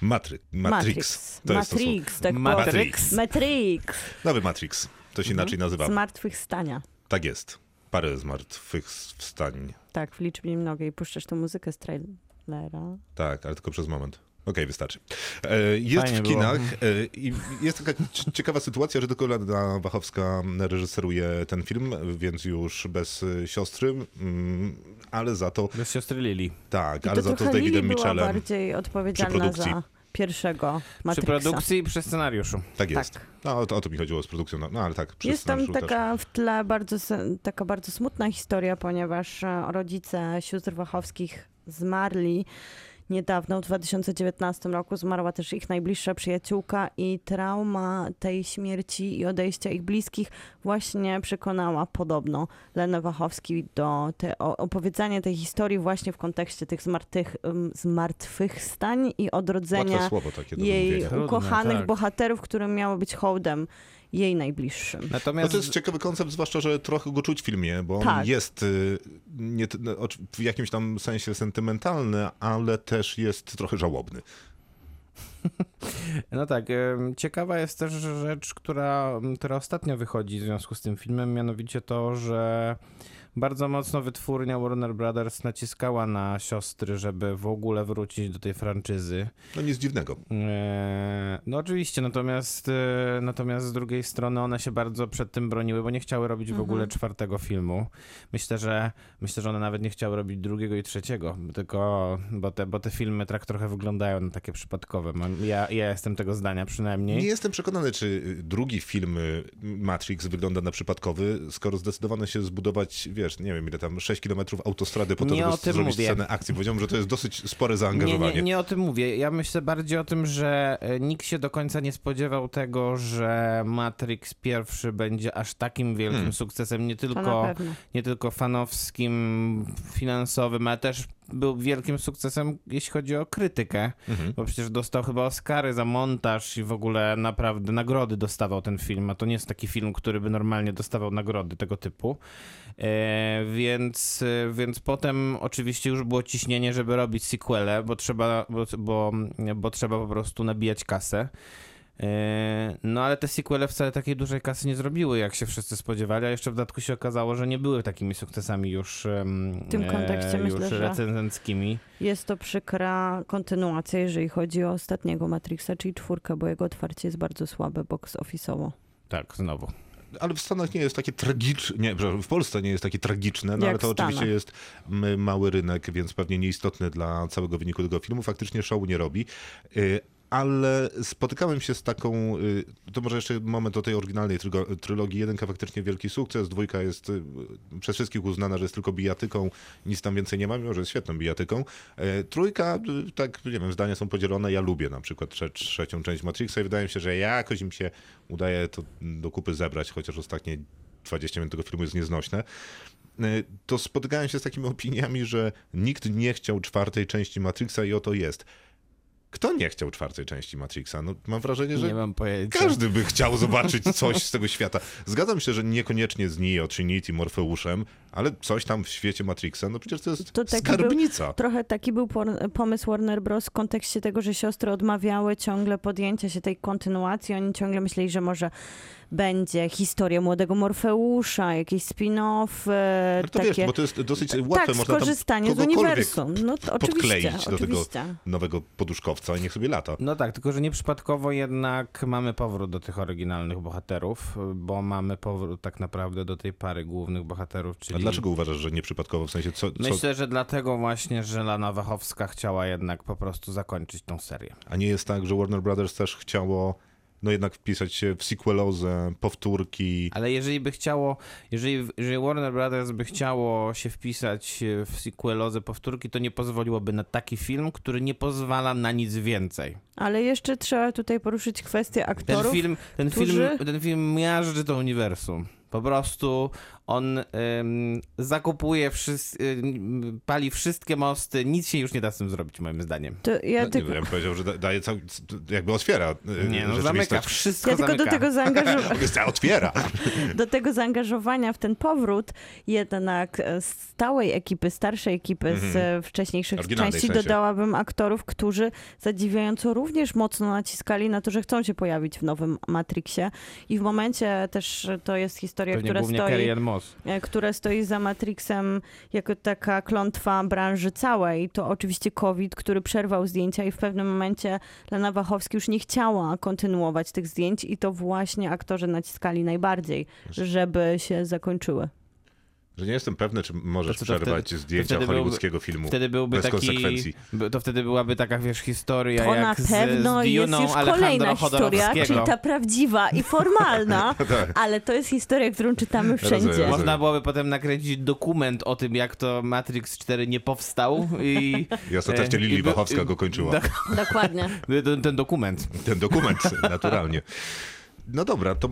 Matry- Matrix. To jest to słowo. Matrix, tak Matrix. Matrix. Matrix. Nowy Matrix. To się Mhm. inaczej nazywa. Zmartwychwstania. Tak jest. Parę zmartwychwstań. Tak, w liczbie mnogiej puszczasz tą muzykę z trailera. Tak, ale tylko przez moment. Okej, wystarczy. E, Jest Fajnie w było. kinach e, i jest taka c- ciekawa sytuacja, że tylko Lada Wachowska reżyseruje ten film, więc już bez e, siostry, mm, ale za to, Bez siostry Lili. tak, I ale to za to z trochę Davidem Lily była Mitchellem. bardziej odpowiedzialna produkcji. za pierwszego Przy Matrixa. produkcji i przy scenariuszu. Tak jest. Tak. No, o, to, o to mi chodziło z produkcją, no, no ale tak. przy Jest tam scenariuszu też. taka w tle bardzo, se- taka bardzo smutna historia, ponieważ e, rodzice sióstr Wachowskich zmarli niedawno, w 2019 roku. Zmarła też ich najbliższa przyjaciółka i trauma tej śmierci i odejścia ich bliskich właśnie przekonała podobno Lenę Wachowski do te, o, opowiedzenia tej historii właśnie w kontekście tych zmartych, em, zmartwychwstań i Łatwe odrodzenia słowo takie do jej wymówienia. Trudne, ukochanych tak. bohaterów, którym miało być hołdem jej najbliższym. No Natomiast to jest ciekawy koncept, zwłaszcza, że trochę go czuć w filmie, bo on Tak. jest y, nie, t- no, oczy- w jakimś tam sensie sentymentalny, ale też jest trochę żałobny. No tak, em, ciekawa jest też rzecz, która, która ostatnio wychodzi w związku z tym filmem, mianowicie to, że bardzo mocno wytwórnia Warner Brothers naciskała na siostry, żeby w ogóle wrócić do tej franczyzy. No nic dziwnego. Eee, No oczywiście, natomiast, e, natomiast z drugiej strony one się bardzo przed tym broniły, bo nie chciały robić w ogóle czwartego filmu. Myślę, że myślę, że one nawet nie chciały robić drugiego i trzeciego, tylko bo te, bo te filmy tak trochę wyglądają na takie przypadkowe. Mam Przynajmniej ja, ja jestem tego zdania przynajmniej. Nie jestem przekonany, czy drugi film y, Matrix wygląda na przypadkowy, skoro zdecydowano się zbudować, wiesz, nie wiem ile tam, 6 kilometrów autostrady po to, Nie żeby o tym zrobić mówię. scenę akcji. Powiedziałem, że to jest dosyć spore Nie, zaangażowanie. nie, nie o tym mówię. Ja myślę bardziej o tym, że e, nikt się do końca nie spodziewał tego, że Matrix pierwszy będzie aż takim wielkim sukcesem, nie To tylko na pewno. nie tylko fanowskim, finansowym, ale też był wielkim sukcesem, jeśli chodzi o krytykę, Mhm. bo przecież dostał chyba Oscary za montaż i w ogóle naprawdę nagrody dostawał ten film, a to nie jest taki film, który by normalnie dostawał nagrody tego typu. E, więc, e, więc potem oczywiście już było ciśnienie, żeby robić sequele, bo trzeba, bo, bo, bo trzeba po prostu nabijać kasę. E, No ale te sequele wcale takiej dużej kasy nie zrobiły, jak się wszyscy spodziewali, a jeszcze w dodatku się okazało, że nie były takimi sukcesami już, em, e, W tym kontekście już myślę, że- recenzenckimi. Jest to przykra kontynuacja, jeżeli chodzi o ostatniego Matrixa, czyli czwórkę, bo jego otwarcie jest bardzo słabe box office'owo. Tak, znowu. Ale w Stanach nie jest takie tragiczne, nie, przepraszam, w Polsce nie jest takie tragiczne, no Jak ale to w Stanach. oczywiście jest mm, mały rynek, więc pewnie nieistotny dla całego wyniku tego filmu. Faktycznie show nie robi. Y, Ale spotykałem się z taką, y, to może jeszcze moment o tej oryginalnej trygo- trylogii. Jedynka faktycznie wielki sukces, dwójka jest y, przez wszystkich uznana, że jest tylko bijatyką, nic tam więcej nie ma, mimo że jest świetną bijatyką. E, Trójka, y, tak, nie wiem, zdania są podzielone. Ja lubię na przykład trze- trzecią część Matrixa i wydaje mi się, że jakoś im się udaje to do kupy zebrać, chociaż ostatnie 20 minut tego filmu jest nieznośne. Y, To spotykałem się z takimi opiniami, że nikt nie chciał czwartej części Matrixa i oto jest. Kto nie chciał czwartej części Matrixa? No, mam wrażenie, że Nie mam pojęcia. każdy by chciał zobaczyć coś z tego świata. Zgadzam się, że niekoniecznie z Neo, Trinity, Morfeuszem, ale coś tam w świecie Matrixa, no przecież to jest To taki skarbnica. Trochę taki był por- pomysł Warner Bros. w kontekście tego, że siostry odmawiały ciągle podjęcia się tej kontynuacji. Oni ciągle myśleli, że może będzie historia młodego Morfeusza, jakiś spin-off, e, Ale No to takie... wiesz, bo to jest dosyć łatwe, tak, można tam skorzystanie z kogokolwiek uniwersum. No to oczywiście, podkleić do tego oczywiście. nowego poduszkowca i niech sobie lata. No tak, tylko że nieprzypadkowo jednak mamy powrót do tych oryginalnych bohaterów, bo mamy powrót tak naprawdę do tej pary głównych bohaterów, czyli... A dlaczego uważasz, że nieprzypadkowo? W sensie, co, co, Myślę, że dlatego właśnie, że Lana Wachowska chciała jednak po prostu zakończyć tą serię. a nie jest tak, że Warner Brothers też chciało no jednak wpisać się w sequelozę, powtórki. Ale jeżeli by chciało, jeżeli, jeżeli Warner Brothers by chciało się wpisać w sequelozę powtórki, to nie pozwoliłoby na taki film, który nie pozwala na nic więcej. Ale jeszcze trzeba tutaj poruszyć kwestię Ten aktorów. film, ten którzy- film, ten film miażdży to uniwersum. Po prostu on ym, zakupuje, wszys- ym, pali wszystkie mosty, nic się już nie da z tym zrobić, moim zdaniem. To ja Ja, No, nie, tylko... wiem, ja bym powiedział, że da, daje cały, jakby otwiera y, Nie, no zamyka, rzeczywistość. wszystko Ja tylko do zamyka. tego, zaangażu- Zamyka. Otwiera. Hmm. do tego zaangażowania w ten powrót jednak e, stałej ekipy, starszej ekipy z e, wcześniejszych Oryginalnej części Mhm. w sensie. dodałabym aktorów, którzy zadziwiająco również mocno naciskali na to, że chcą się pojawić w nowym Matrixie i w momencie też e, to jest historia, Pewnie która głównie stoi Carrie Ann Moss. e, które stoi za Matrixem jako taka klątwa branży całej. To oczywiście COVID, który przerwał zdjęcia i w pewnym momencie Lena Wachowski już nie chciała kontynuować tych zdjęć i to właśnie aktorzy naciskali najbardziej, żeby się zakończyły. Że nie jestem pewny, czy możesz To co, to przerwać wtedy- to zdjęcia wtedy byłby- hollywoodzkiego filmu. Wtedy byłby bez taki, konsekwencji. by- to wtedy byłaby taka, wiesz, historia To jak na z, pewno z jest Diuną już kolejna Alejandro historia, czyli Chodorowskiego. ta prawdziwa i formalna, Tak. ale to jest historia, którą czytamy wszędzie. Rozumiem. Można byłoby potem nakręcić dokument o tym, jak to Matrix 4 nie powstał i... I ostatecznie e, Lili i by- Wachowska i- go kończyła. tak. Dokładnie. Ten, ten dokument. Ten dokument, naturalnie. No dobra, to,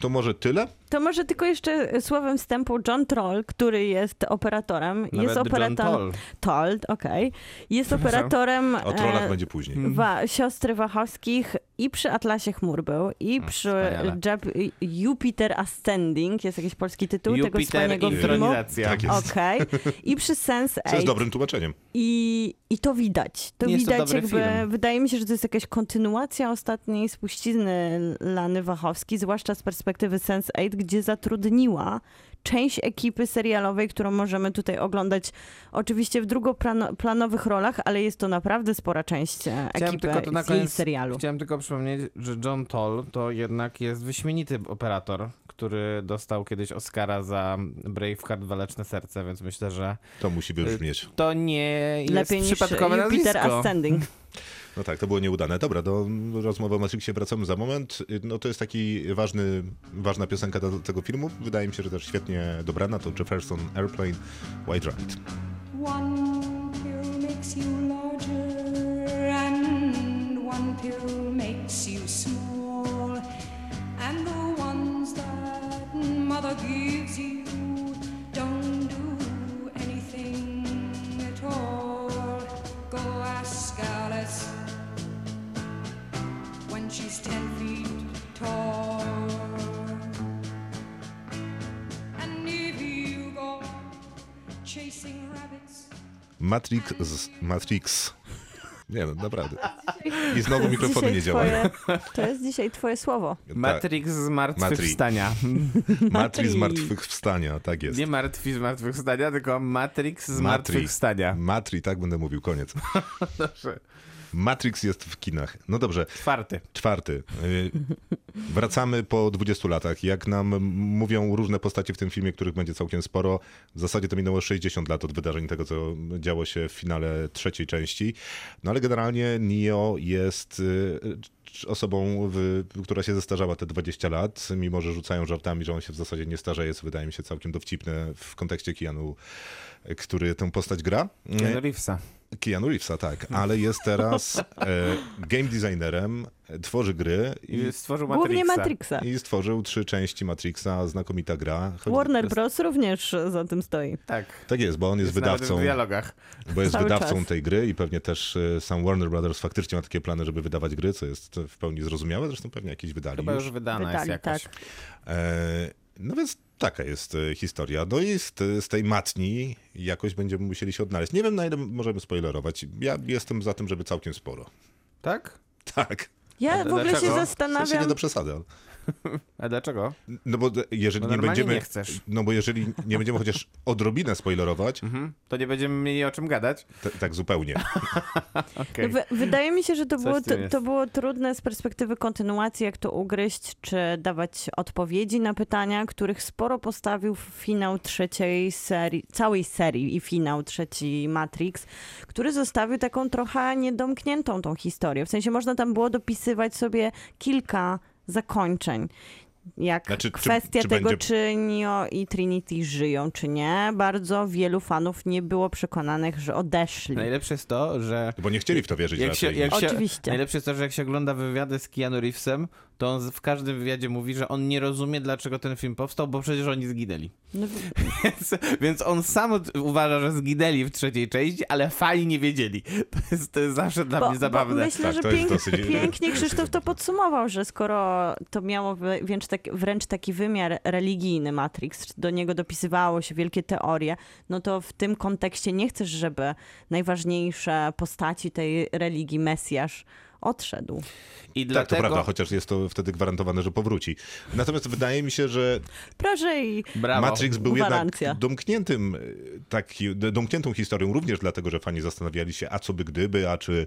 to może tyle? To może tylko jeszcze słowem wstępu John Troll, który jest operatorem. Nawet jest John operatorem. Paul. Toll, okej. Jest operatorem O trollach e, będzie Hmm. później. wa- siostry Wachowskich i przy Atlasie Chmur był, i Hmm, przy wspaniale. Jap- Jupiter Ascending, jest jakiś polski tytuł tego Jupiter wspaniałego filmu. Intronizacja. Tak jest. Okej. I przy Sense Co jest 8. dobrym tłumaczeniem. I, I to widać. To Jest to widać dobry jakby. film. Wydaje mi się, że to jest jakaś kontynuacja ostatniej spuścizny Lany Wachowskiej, zwłaszcza z perspektywy Sense8, gdzie zatrudniła część ekipy serialowej, którą możemy tutaj oglądać oczywiście w drugoplanowych rolach, ale jest to naprawdę spora część e, Chciałem ekipy tylko to na z jej koniec- serialu. Chciałem tylko przypomnieć, że John Toll to jednak jest wyśmienity operator, który dostał kiedyś Oscara za Braveheart Waleczne Serce, więc myślę, że To musi wybrzmieć. to nie jest Lepiej niż przypadkowe Jupiter nazwisko. Ascending. No tak, to było nieudane. Dobra, do rozmowy o Matrixie wracamy za moment. No to jest taki ważny, ważna piosenka do tego filmu. Wydaje mi się, że też świetnie dobrana. To Jefferson Airplane, White Ride. One pill makes you larger, and one pill makes you small. And the ones that mother gives you don't do anything at all. Go ask Alice when she's ten feet tall. And if you go chasing rabbits. Matrix, z- Matrix. Nie no, naprawdę. I znowu mikrofony Dzisiaj nie działają. twoje- To jest dzisiaj twoje słowo. Tak, Matrix z martwychwstania. Matrix Zmartwychwstania, tak jest. Nie martwi z martwychwstania, tylko Matrix z Matri. martwychwstania. Matri, tak będę mówił, koniec. Matrix jest w kinach. No dobrze, Czwarty. czwarty. Y, Wracamy po 20 latach. Jak nam mówią różne postacie w tym filmie, których będzie całkiem sporo, w zasadzie to minęło 60 lat od wydarzeń tego, co działo się w finale trzeciej części. No ale generalnie Neo jest y, c- osobą, w, która się zestarzała te 20 lat, mimo że rzucają żartami, że on się w zasadzie nie starzeje, co wydaje mi się całkiem dowcipne w kontekście Keanu, który tę postać gra. Y, Keanu Reevesa. Keanu Reevesa, tak, ale jest teraz e, game designerem, e, tworzy gry i, I Stworzył Matrixa. Głównie Matrixa. i stworzył trzy części Matrixa, znakomita gra. Choć- Warner Bros. również za tym stoi. Tak. Tak jest, bo on jest, Jest nawet wydawcą, w dialogach. bo jest Cały wydawcą czas. tej gry i pewnie też e, sam Warner Brothers faktycznie ma takie plany, żeby wydawać gry, co jest w pełni zrozumiałe, zresztą pewnie jakieś wydali Chyba już. już wydana Wydali, jest jakaś. tak. E, No więc taka jest e, historia. No i z, te- z tej matni jakoś będziemy musieli się odnaleźć. Nie wiem, na ile możemy spoilerować. Ja jestem za tym, żeby całkiem sporo. Tak? Tak, Ja A w ogóle się dlaczego? w sensie nie zastanawiam. do przesady. ale- A dlaczego? No bo d- jeżeli Bo nie normalnie będziemy. nie chcesz. No bo jeżeli nie będziemy chociaż odrobinę spoilerować, Mhm. To nie będziemy mieli o czym gadać. t- tak zupełnie. No, Okej. wy- Wydaje mi się, że to Coś było, w to, tym jest. to było trudne z perspektywy kontynuacji, jak to ugryźć, czy dawać odpowiedzi na pytania, których sporo postawił finał trzeciej serii, całej serii i finał trzeci Matrix, który zostawił taką trochę niedomkniętą tą historię. W sensie można tam było dopisywać sobie kilka zakończeń. Jak Znaczy, czy- kwestia czy tego, będzie- czy Neo i Trinity żyją, czy nie. Bardzo wielu fanów nie było przekonanych, że odeszli. Najlepsze jest to, że no Bo nie chcieli w to wierzyć jak się, raczej. tak, jak się, Oczywiście. Najlepsze jest to, że jak się ogląda wywiady z Keanu Reevesem, to on z- w każdym wywiadzie mówi, że on nie rozumie, dlaczego ten film powstał, bo przecież oni zginęli. No, Więc, więc on sam t- uważa, że zginęli w trzeciej części, ale fani nie wiedzieli. To jest, to jest zawsze dla mnie zabawne. myślę, Tak, że to jest pięk, dosyć- pięknie Krzysztof to podsumował, że skoro to miało wy- wręcz, tak, wręcz taki wymiar religijny Matrix, do niego dopisywało się wielkie teorie, no to w tym kontekście nie chcesz, żeby najważniejsze postaci tej religii, Mesjasz, odszedł. I Tak, to dlatego... prawda, chociaż jest to wtedy gwarantowane, że powróci. Natomiast wydaje mi się, że Proszę i Brawo. Matrix był Gwarancja. jednak domkniętym, y, taki, d- domkniętą historią również dlatego, że fani zastanawiali się, a co by gdyby, a czy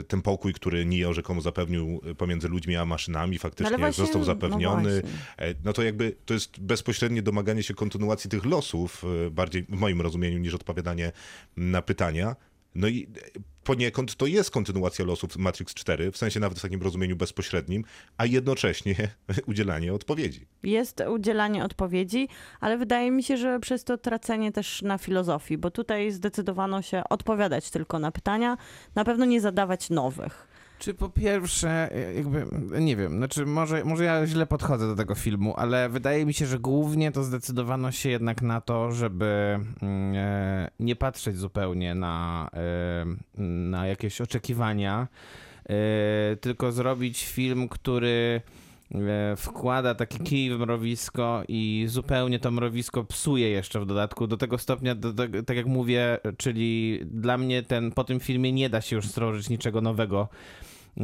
y, ten pokój, który Neo rzekomo zapewnił y, pomiędzy ludźmi a maszynami faktycznie No ale właśnie- został no zapewniony. właśnie. E, No to jakby to jest bezpośrednie domaganie się kontynuacji tych losów, y, bardziej w moim rozumieniu niż odpowiadanie na pytania. No i e, poniekąd to jest kontynuacja losów Matrix 4, w sensie nawet w takim rozumieniu bezpośrednim, a jednocześnie udzielanie odpowiedzi. jest udzielanie odpowiedzi, ale wydaje mi się, że przez to tracenie też na filozofii, bo tutaj zdecydowano się odpowiadać tylko na pytania, na pewno nie zadawać nowych. Czy po pierwsze, e, jakby, nie wiem, znaczy może, może ja źle podchodzę do tego filmu, ale wydaje mi się, że głównie to zdecydowano się jednak na to, żeby mm, e, nie patrzeć zupełnie na, e, na jakieś oczekiwania, e, tylko zrobić film, który e, wkłada taki kij w mrowisko i zupełnie to mrowisko psuje jeszcze w dodatku, do tego stopnia, do, do, tak jak mówię, czyli dla mnie ten, po tym filmie nie da się już stworzyć niczego nowego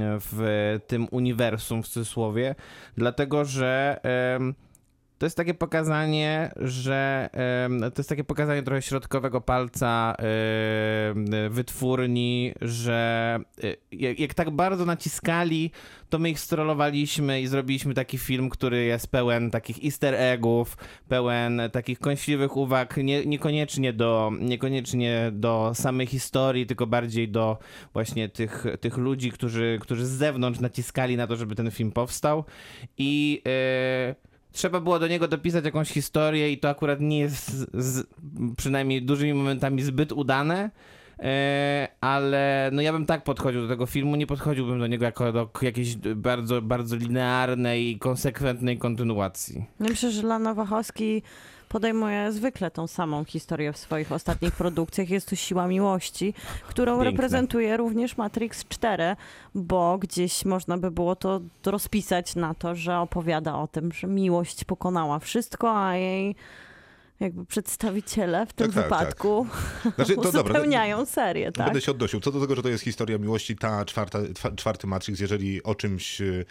w tym uniwersum w cudzysłowie, dlatego że em, To jest takie pokazanie, że em, to jest takie pokazanie trochę środkowego palca em, wytwórni, że y, jak, jak tak bardzo naciskali, to my ich strollowaliśmy i zrobiliśmy taki film, który jest pełen takich easter eggów, pełen takich kąśliwych uwag, nie, niekoniecznie, do, niekoniecznie do samej historii, tylko bardziej do właśnie tych, tych ludzi, którzy, którzy z zewnątrz naciskali na to, żeby ten film powstał. I e, trzeba było do niego dopisać jakąś historię, i to akurat nie jest z, z, przynajmniej dużymi momentami zbyt udane. E, ale no ja bym tak podchodził do tego filmu, nie podchodziłbym do niego jako do k- jakiejś bardzo, bardzo linearnej i konsekwentnej kontynuacji. Ja Myślę, że Lana Wachowski podejmuje zwykle tą samą historię w swoich ostatnich produkcjach. Jest to siła miłości, którą Piękne. reprezentuje również Matrix 4, bo gdzieś można by było to rozpisać na to, że opowiada o tym, że miłość pokonała wszystko, a jej jakby przedstawiciele w tym Tak, tak, tak. wypadku Znaczy, to dobra. uzupełniają serię, tak? No, Będę się odnosił. Co do tego, że to jest historia miłości, ta czwarta, twa- czwarty Matrix, jeżeli o czymś y,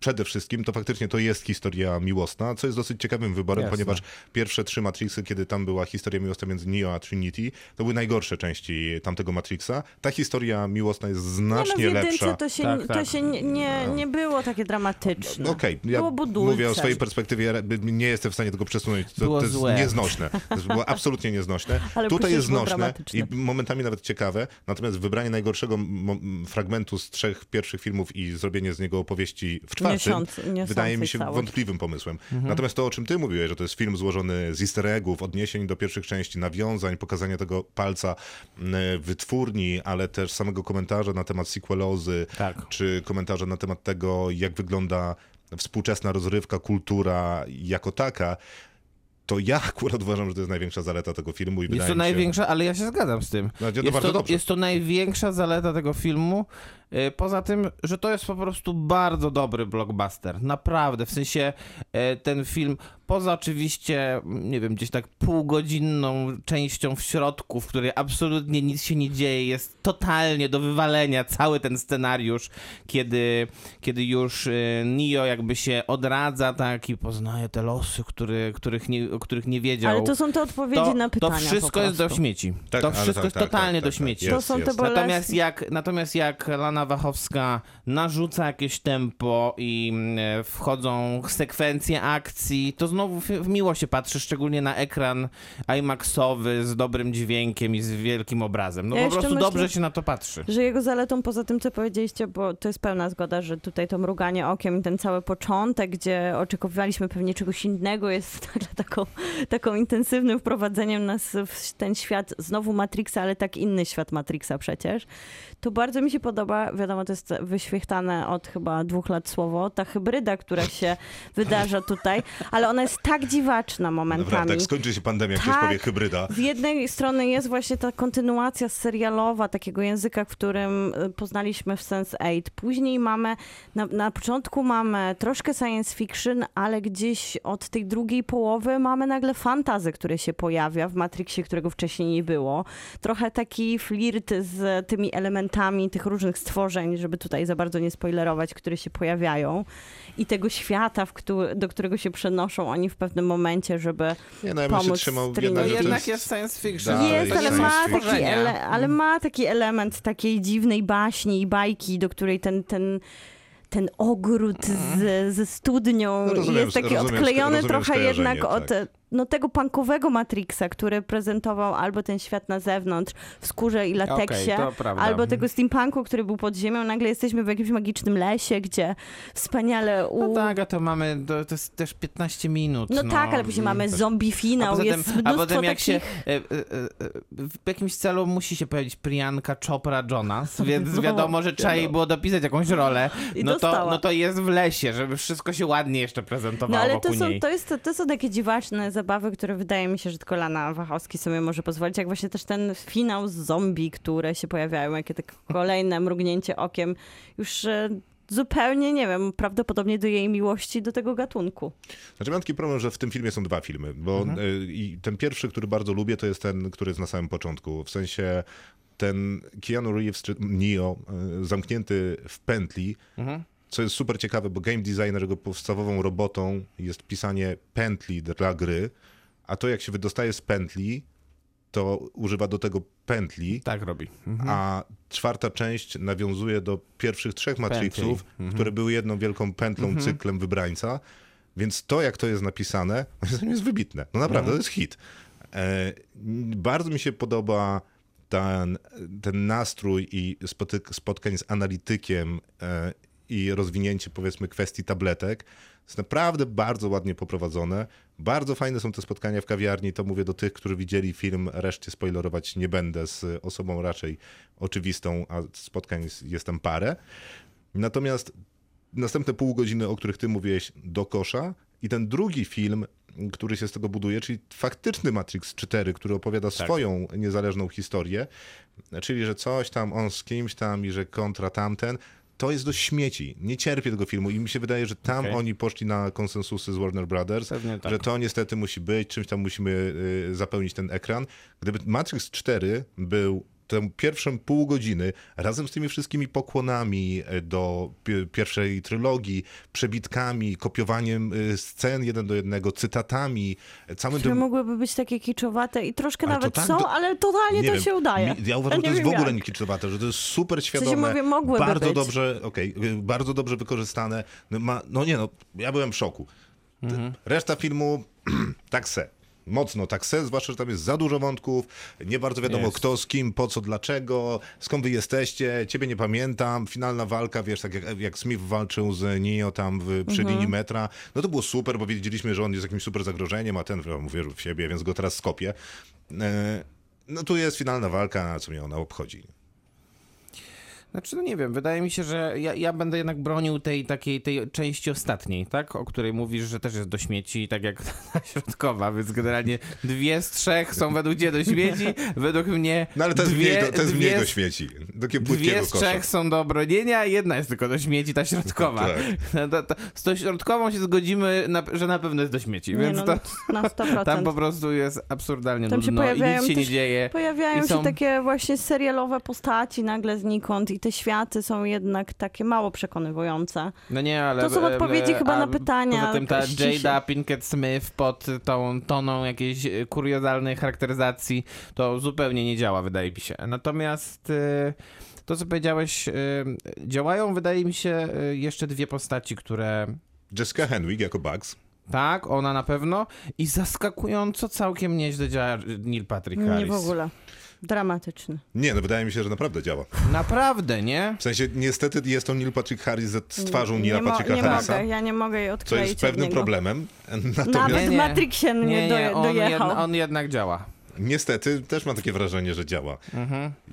przede wszystkim, to faktycznie to jest historia miłosna, co jest dosyć ciekawym wyborem, Jasne. ponieważ pierwsze trzy Matrixy, kiedy tam była historia miłosna między Neo a Trinity, to były najgorsze części tamtego Matrixa. Ta historia miłosna jest znacznie nie, no w jedynce lepsza. to się, Tak, To tak. się nie, nie, nie było takie dramatyczne. No, Okej, ja było budulce. mówię o swojej perspektywie, ja jakby nie jestem w stanie tego przesunąć. To, Było to jest złe. nieznośne. To jest- było absolutnie nieznośne. Ale Tutaj później jest było znośne dramatyczne. i momentami nawet ciekawe. Natomiast wybranie najgorszego mo- m, fragmentu z trzech pierwszych filmów i zrobienie z niego opowieści w czwartym Niosąc- niosącej wydaje mi się całość. Mhm. wątpliwym pomysłem. Natomiast to, o czym ty mówiłeś, że to jest film złożony z easter eggów, odniesień do pierwszych części, nawiązań, pokazania tego palca m, wytwórni, ale też samego komentarza na temat sequelozy, Tak. czy komentarze na temat tego, jak wygląda współczesna rozrywka, kultura jako taka, to ja akurat uważam, że to jest największa zaleta tego filmu i Jest wydaje mi to się... największa, ale ja się zgadzam z tym. No, to jest, bardzo dobrze. jest to największa zaleta tego filmu. e, Poza tym, że to jest po prostu bardzo dobry blockbuster. Naprawdę, w sensie e, ten film, poza oczywiście, m, nie wiem, gdzieś tak półgodzinną częścią w środku, w której absolutnie nic się nie dzieje, jest totalnie do wywalenia cały ten scenariusz, kiedy, kiedy już e, Neo jakby się odradza tak i poznaje te losy, który, których nie, o których nie wiedział. Ale to są te odpowiedzi na pytania To po wszystko jest do prostu. śmieci. Tak, to ale wszystko tak, jest tak, totalnie tak, do tak, tak, śmieci. jest. To są te bolesne... Natomiast jak, natomiast jak Lana Wachowska narzuca jakieś tempo i mm, wchodzą sekwencje akcji, to znowu fi- miło się patrzy, szczególnie na ekran IMAXowy z dobrym dźwiękiem i z wielkim obrazem. No Ja po jeszcze prostu myślę- dobrze się na to patrzy. Że jego zaletą poza tym, co powiedzieliście, bo to jest pełna zgoda, że tutaj to mruganie okiem i ten cały początek, gdzie oczekiwaliśmy pewnie czegoś innego, jest nagle taką, taką intensywnym wprowadzeniem nas w ten świat znowu Matrixa, ale tak inny świat Matrixa przecież. To bardzo mi się podoba, wiadomo, to jest wyświechtane od chyba dwóch lat słowo, ta hybryda, która się wydarza tutaj, ale ona jest tak dziwaczna Dobra, momentami. tak skończy się pandemia, Tak. ktoś powie hybryda. Z jednej strony jest właśnie ta kontynuacja serialowa takiego języka, w którym y, poznaliśmy w Sense8. Później mamy, na, na początku mamy troszkę science fiction, ale gdzieś od tej drugiej połowy mamy nagle fantazy, które się pojawia w Matrixie, którego wcześniej nie było. Trochę taki flirt z tymi elementami tych różnych stworzeń, żeby tutaj za bardzo nie spoilerować, które się pojawiają. I tego świata, w któ- do którego się przenoszą oni w pewnym momencie, żeby Nie, no ja bym się Pomóc trzymał streamu. jednak, No że to jednak jest... jest science fiction. Dalej, Jest, to ale Tak, jest Mhm. ma, science taki stworzenia. ele- ale ma taki element takiej dziwnej baśni i bajki, do której ten, ten, ten ogród z, ze studnią Mhm. No rozumiem, jest taki rozumiem, odklejony rozumiem trochę skojarzenie, jednak od tak. no, tego punkowego Matrixa, który prezentował albo ten świat na zewnątrz w skórze i lateksie, Okej, to prawda. Mhm. albo tego steampunku, który był pod ziemią. Nagle jesteśmy w jakimś magicznym lesie, gdzie wspaniale u... No tak, a to mamy, to, to jest też 15 minut. No, tak, ale później mamy zombie finał, No, jest mnóstwo a potem jak takich... się e, e, e, w jakimś celu musi się pojawić Priyanka Chopra Jonas, więc No, wiadomo, że trzeba jej było dopisać jakąś rolę. I No to, dostała. no to jest w lesie, żeby wszystko się ładnie jeszcze prezentowało No ale wokół to są, niej. to, jest, to są takie dziwaczne zabawy, które wydaje mi się, że tylko Lana Wachowski sobie może pozwolić. Jak właśnie też ten finał z zombie, które się pojawiają, jakie takie kolejne mrugnięcie okiem. Już e, zupełnie, nie wiem, prawdopodobnie do jej miłości, do tego gatunku. Znaczy mam taki problem, że w tym filmie są dwa filmy, bo y, i ten pierwszy, który bardzo lubię, to jest ten, który jest na samym początku. W sensie ten Keanu Reeves czy Neo y, zamknięty w e, pętli, co jest super ciekawe, bo game designer, jego podstawową robotą jest pisanie pętli dla gry, a to jak się wydostaje z pętli, to używa do tego pętli, Tak robi. a czwarta część nawiązuje do pierwszych trzech Matrixów, które były jedną wielką pętlą, cyklem wybrańca. Więc to, jak to jest napisane, moim zdaniem jest wybitne. No naprawdę, to jest hit. E, n- bardzo mi się podoba ten, ten nastrój i spotyk, spotkań z analitykiem e, i rozwinięcie, powiedzmy, kwestii tabletek. Jest naprawdę bardzo ładnie poprowadzone. Bardzo fajne są te spotkania w kawiarni. To mówię do tych, którzy widzieli film. Reszcie spoilerować nie będę z osobą raczej oczywistą, a spotkań z- jest tam parę. Natomiast następne pół godziny, o których ty mówiłeś, do kosza i ten drugi film, który się z tego buduje, czyli faktyczny Matrix 4, który opowiada Tak. swoją niezależną historię, czyli że coś tam, on z kimś tam i że kontra tamten, to jest do śmieci. Nie cierpię tego filmu i mi się wydaje, że tam Okej. oni poszli na konsensusy z Warner Brothers, Pewnie tak. że to niestety musi być, czymś tam musimy y, zapełnić ten ekran. Gdyby Matrix 4 był tę pierwszą pół godziny razem z tymi wszystkimi pokłonami y, do pi- pierwszej trylogii, przebitkami, kopiowaniem y, scen jeden do jednego, cytatami, y, całym Które tym... mogłyby być takie kiczowate i troszkę Ale to nawet tak są, do- ale totalnie nie to wiem. się udaje. Mi- Ja uważam, że to nie jest w wiem ogóle jak. nie kiczowate, że to jest super świadome. mówię, mogłyby bardzo być. dobrze, okej, y, bardzo dobrze wykorzystane. No, ma, no nie no, ja byłem w szoku. T- Reszta filmu tak se. Mocno tak se, zwłaszcza, że tam jest za dużo wątków, nie bardzo wiadomo Jest. kto z kim, po co, dlaczego, skąd wy jesteście, ciebie nie pamiętam, finalna walka, wiesz, tak jak, jak Smith walczył z Neo tam w, Mhm. przy linii metra, no to było super, bo wiedzieliśmy, że on jest jakimś super zagrożeniem, a ten no, wierzył w siebie, więc go teraz skopię. E, no tu jest finalna walka, co mnie ona obchodzi. Znaczy, no nie wiem, wydaje mi się, że ja, ja będę jednak bronił tej takiej tej części ostatniej, tak? O której mówisz, że też jest do śmieci, tak jak ta środkowa, więc generalnie dwie z trzech są według ciebie do śmieci, według mnie. No ale to jest dwie, mniej, do- to jest dwie mniej do z- śmieci, do Dwie płytkiego z kosza. trzech są do obronienia, jedna jest tylko do śmieci, ta środkowa. Tak. No to, to, z tą środkową się zgodzimy, na, że na pewno jest do śmieci, Nie więc no, to, na 100%. tam po prostu jest absurdalnie Tam się nudno i pojawiają nic się nie też- dzieje. Pojawiają I się są- takie właśnie serialowe postaci nagle znikąd i te światy są jednak takie mało przekonywujące. No nie, ale... To są odpowiedzi ale- chyba na a pytania, Poza tym ta jakoś ciszy. Jada Pinkett Smith pod tą toną jakiejś e, kuriozalnej charakteryzacji to zupełnie nie działa, wydaje mi się. Natomiast e, to, co powiedziałeś, e, działają, wydaje mi się, e, jeszcze dwie postaci, które... Jessica Henwick jako Bugs. Tak, ona na pewno. I zaskakująco całkiem nieźle działa Neil Patrick Harris. Nie w ogóle. Dramatyczny. Nie, no wydaje mi się, że naprawdę działa. Naprawdę, nie? W sensie niestety jest to Neil Patrick Harris ze- z twarzą Neila Mm, nie, mo- Patricka nie Harrisa, mogę, ja nie mogę jej co odkleić jest od pewnym niego. problemem. Natomiast Nawet Nie, nie. Matrixie mnie Nie, nie, doje- on, dojechał. jedna, on jednak działa. niestety też mam takie wrażenie, że działa.